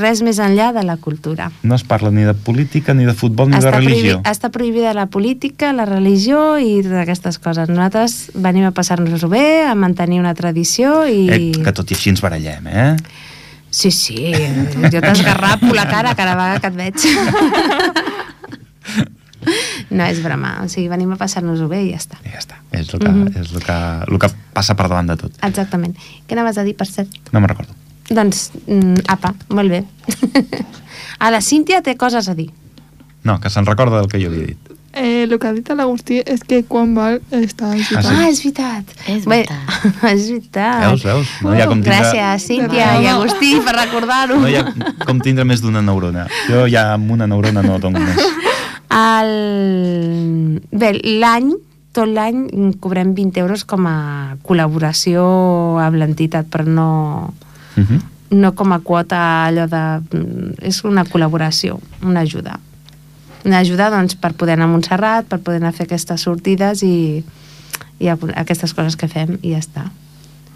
[SPEAKER 1] res més enllà de la cultura.
[SPEAKER 2] No es parla ni de política, ni de futbol, ni de religió.
[SPEAKER 1] prohibi- està ah, prohibida la política, la religió i totes aquestes coses. Nosaltres venim a passar-nos-ho bé, a mantenir una tradició i...
[SPEAKER 2] Eh, que tot i així ens barallem, eh?
[SPEAKER 1] Sí, sí, jo t'esgarrapo la cara cada vegada que et veig. No, és broma, o sigui, venim a passar-nos-ho bé i ja està.
[SPEAKER 2] I ja està. És el que,
[SPEAKER 1] Mhm.
[SPEAKER 2] és el que, el que passa per davant de tot.
[SPEAKER 1] Exactament. Què anaves a dir, per cert?
[SPEAKER 2] No me'n recordo.
[SPEAKER 1] Doncs, mm, apa, molt bé. A la Cíntia té coses a dir.
[SPEAKER 2] No, que se'n recorda del que jo havia dit.
[SPEAKER 3] Eh, el que ha dit l'Agustí és que quan val està en
[SPEAKER 1] Ah,
[SPEAKER 2] Ah, sí?
[SPEAKER 1] sí. ah és veritat.
[SPEAKER 4] És
[SPEAKER 1] Bé,
[SPEAKER 4] veritat.
[SPEAKER 1] [LAUGHS] és veritat.
[SPEAKER 2] Veus, veus? No hi ha com tindre-
[SPEAKER 1] Gràcies, Cíntia i Agustí, per recordar-ho.
[SPEAKER 2] No hi ha com tindre més d'una neurona. Jo ja amb una neurona no dono més.
[SPEAKER 1] [LAUGHS] El... Bé, l'any, tot l'any, cobrem 20 euros com a col·laboració amb l'entitat, però no,
[SPEAKER 2] Uh -huh.
[SPEAKER 1] no com a quota allò de... mm, És una col·laboració, una ajuda. Una ajuda, doncs, per poder anar a Montserrat, per poder anar a fer aquestes sortides i, i algun- aquestes coses que fem i ja està.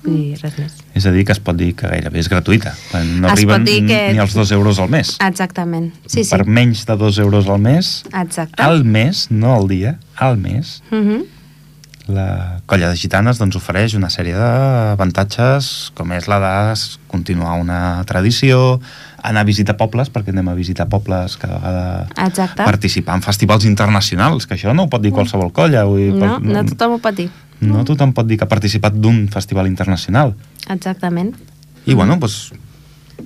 [SPEAKER 1] I res més.
[SPEAKER 2] És a dir, que es pot dir que gairebé és gratuïta. No
[SPEAKER 1] Es pot
[SPEAKER 2] arriben
[SPEAKER 1] dir que-
[SPEAKER 2] ni als dos euros al mes.
[SPEAKER 1] Exactament. Sí, Ah. sí.
[SPEAKER 2] Per Ah. menys de dos euros al mes,
[SPEAKER 1] Exacte.
[SPEAKER 2] al mes, no al dia, al mes,
[SPEAKER 1] Mhm.
[SPEAKER 2] la colla de gitanes doncs, ofereix una sèrie d'avantatges com és la de s- continuar una tradició, anar a visitar pobles, perquè anem a visitar pobles cada vegada
[SPEAKER 1] Exacte.
[SPEAKER 2] participar en festivals internacionals, que això no ho pot dir qualsevol colla. Vull dir,
[SPEAKER 1] No,
[SPEAKER 2] qual-
[SPEAKER 1] no tothom ho pot dir.
[SPEAKER 2] no tothom pot dir que ha participat d'un festival internacional.
[SPEAKER 1] Exactament.
[SPEAKER 2] I, bueno, doncs,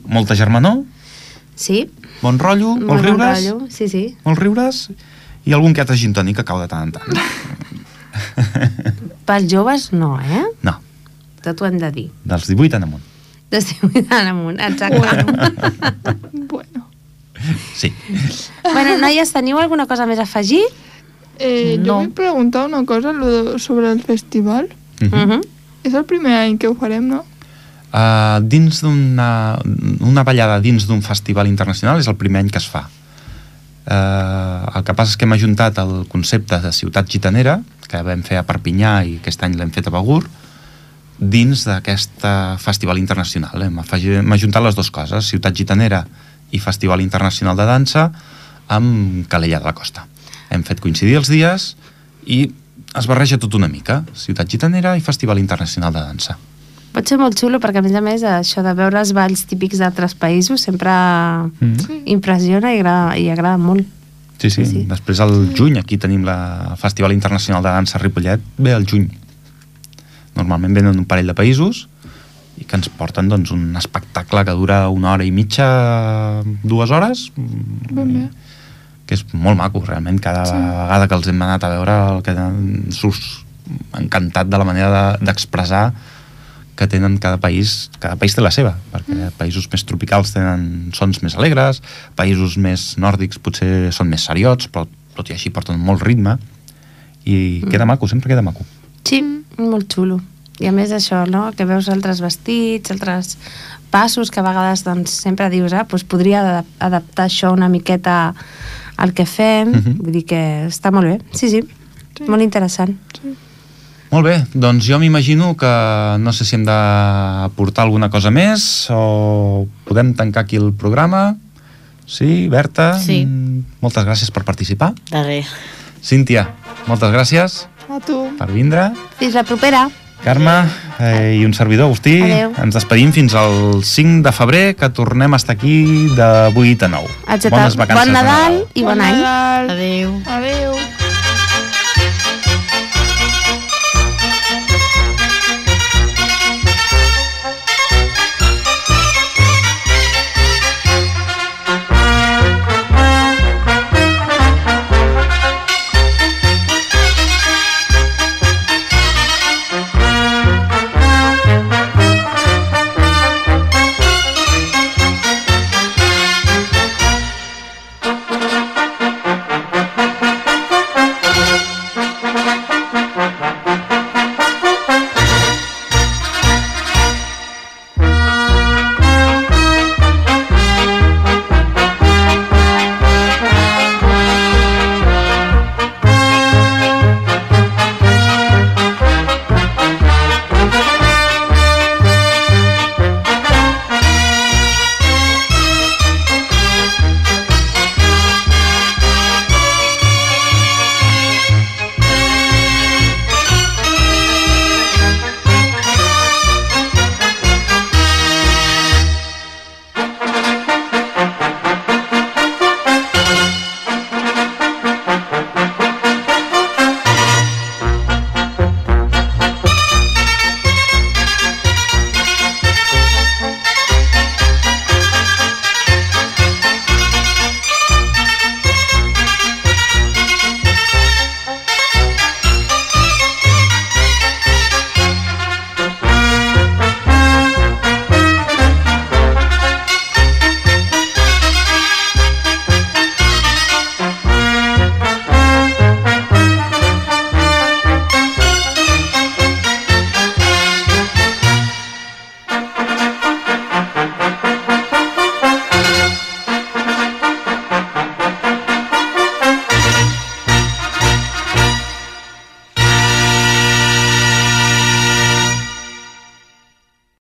[SPEAKER 2] molta germanor,
[SPEAKER 1] Sí,
[SPEAKER 2] bon rotllo, molts
[SPEAKER 1] molt bon
[SPEAKER 2] riures,
[SPEAKER 1] rotllo. Sí, sí.
[SPEAKER 2] molts riures i algun que altre gin tònic que cau de tant en tant.
[SPEAKER 1] Pels joves no, eh?
[SPEAKER 2] No,
[SPEAKER 1] Tot ho hem de dir.
[SPEAKER 2] dels 18 en amunt.
[SPEAKER 1] Estic mirant amunt, exacte. Bueno.
[SPEAKER 3] Bueno.
[SPEAKER 2] Sí.
[SPEAKER 1] bueno, noies, teniu alguna cosa més a afegir?
[SPEAKER 3] Eh,
[SPEAKER 4] No.
[SPEAKER 3] Jo vull preguntar una cosa lo de- sobre el festival.
[SPEAKER 2] Mhm.
[SPEAKER 1] Mhm.
[SPEAKER 3] És el primer any que ho farem, no?
[SPEAKER 2] Uh, dins d'una una ballada dins d'un festival internacional és el primer any que es fa uh, el que passa és que hem ajuntat el concepte de ciutat gitanera que vam fer a Perpinyà i aquest any l'hem fet a Begur dins d'aquest eh, festival internacional hem, afegit, hem ajuntat les dues coses ciutat gitanera i festival internacional de dansa amb Calella de la Costa hem fet coincidir els dies i es barreja tot una mica ciutat gitanera i festival internacional de dansa
[SPEAKER 1] Pot ser molt xulo perquè, a més a més, això de veure els balls típics d'altres països sempre
[SPEAKER 2] mm.
[SPEAKER 1] impressiona i agrada, i agrada molt.
[SPEAKER 2] Sí,
[SPEAKER 1] Sí,
[SPEAKER 2] sí.
[SPEAKER 1] sí.
[SPEAKER 2] sí. Després, al juny, aquí tenim la, el Festival Internacional de Dansa Ripollet, ve al juny. Normalment venen un parell de països, i que ens porten doncs, un espectacle que dura una hora i mitja, dues hores, mm,
[SPEAKER 3] Ben bé.
[SPEAKER 2] que és molt maco, realment, cada sí. vegada que els hem anat a veure el que tenen- surts encantat de la manera de- d'expressar de, que tenen cada país, cada país té la seva, perquè mm. països més tropicals tenen sons més alegres, països més nòrdics potser són més seriots, però tot i així porten molt ritme, i mm. queda maco, sempre queda maco.
[SPEAKER 1] Sí, molt xulo. I a més això, no? que veus altres vestits, altres passos, que a vegades doncs, sempre dius, ah, doncs podria adap- adaptar això una miqueta al que fem,
[SPEAKER 2] Mhm.
[SPEAKER 1] vull dir que està molt bé, sí, sí,
[SPEAKER 3] Sí.
[SPEAKER 1] molt interessant.
[SPEAKER 2] Molt bé, doncs jo m'imagino que no sé si hem de portar alguna cosa més o podem tancar aquí el programa. Sí, Berta,
[SPEAKER 4] Sí.
[SPEAKER 2] mm, moltes gràcies per participar.
[SPEAKER 4] De res.
[SPEAKER 2] Cíntia, moltes gràcies
[SPEAKER 3] A tu.
[SPEAKER 2] per vindre.
[SPEAKER 1] Fins la propera!
[SPEAKER 2] Carme eh, i un servidor, Agustí,
[SPEAKER 1] Adeu.
[SPEAKER 2] ens despedim fins al 5 de febrer, que tornem a estar aquí de 8 a 9.
[SPEAKER 1] Etcètera.
[SPEAKER 2] Bones vacances
[SPEAKER 1] Bon
[SPEAKER 2] de
[SPEAKER 1] Nadal i bon, any!
[SPEAKER 3] Nadal.
[SPEAKER 4] Adeu.
[SPEAKER 3] Adéu.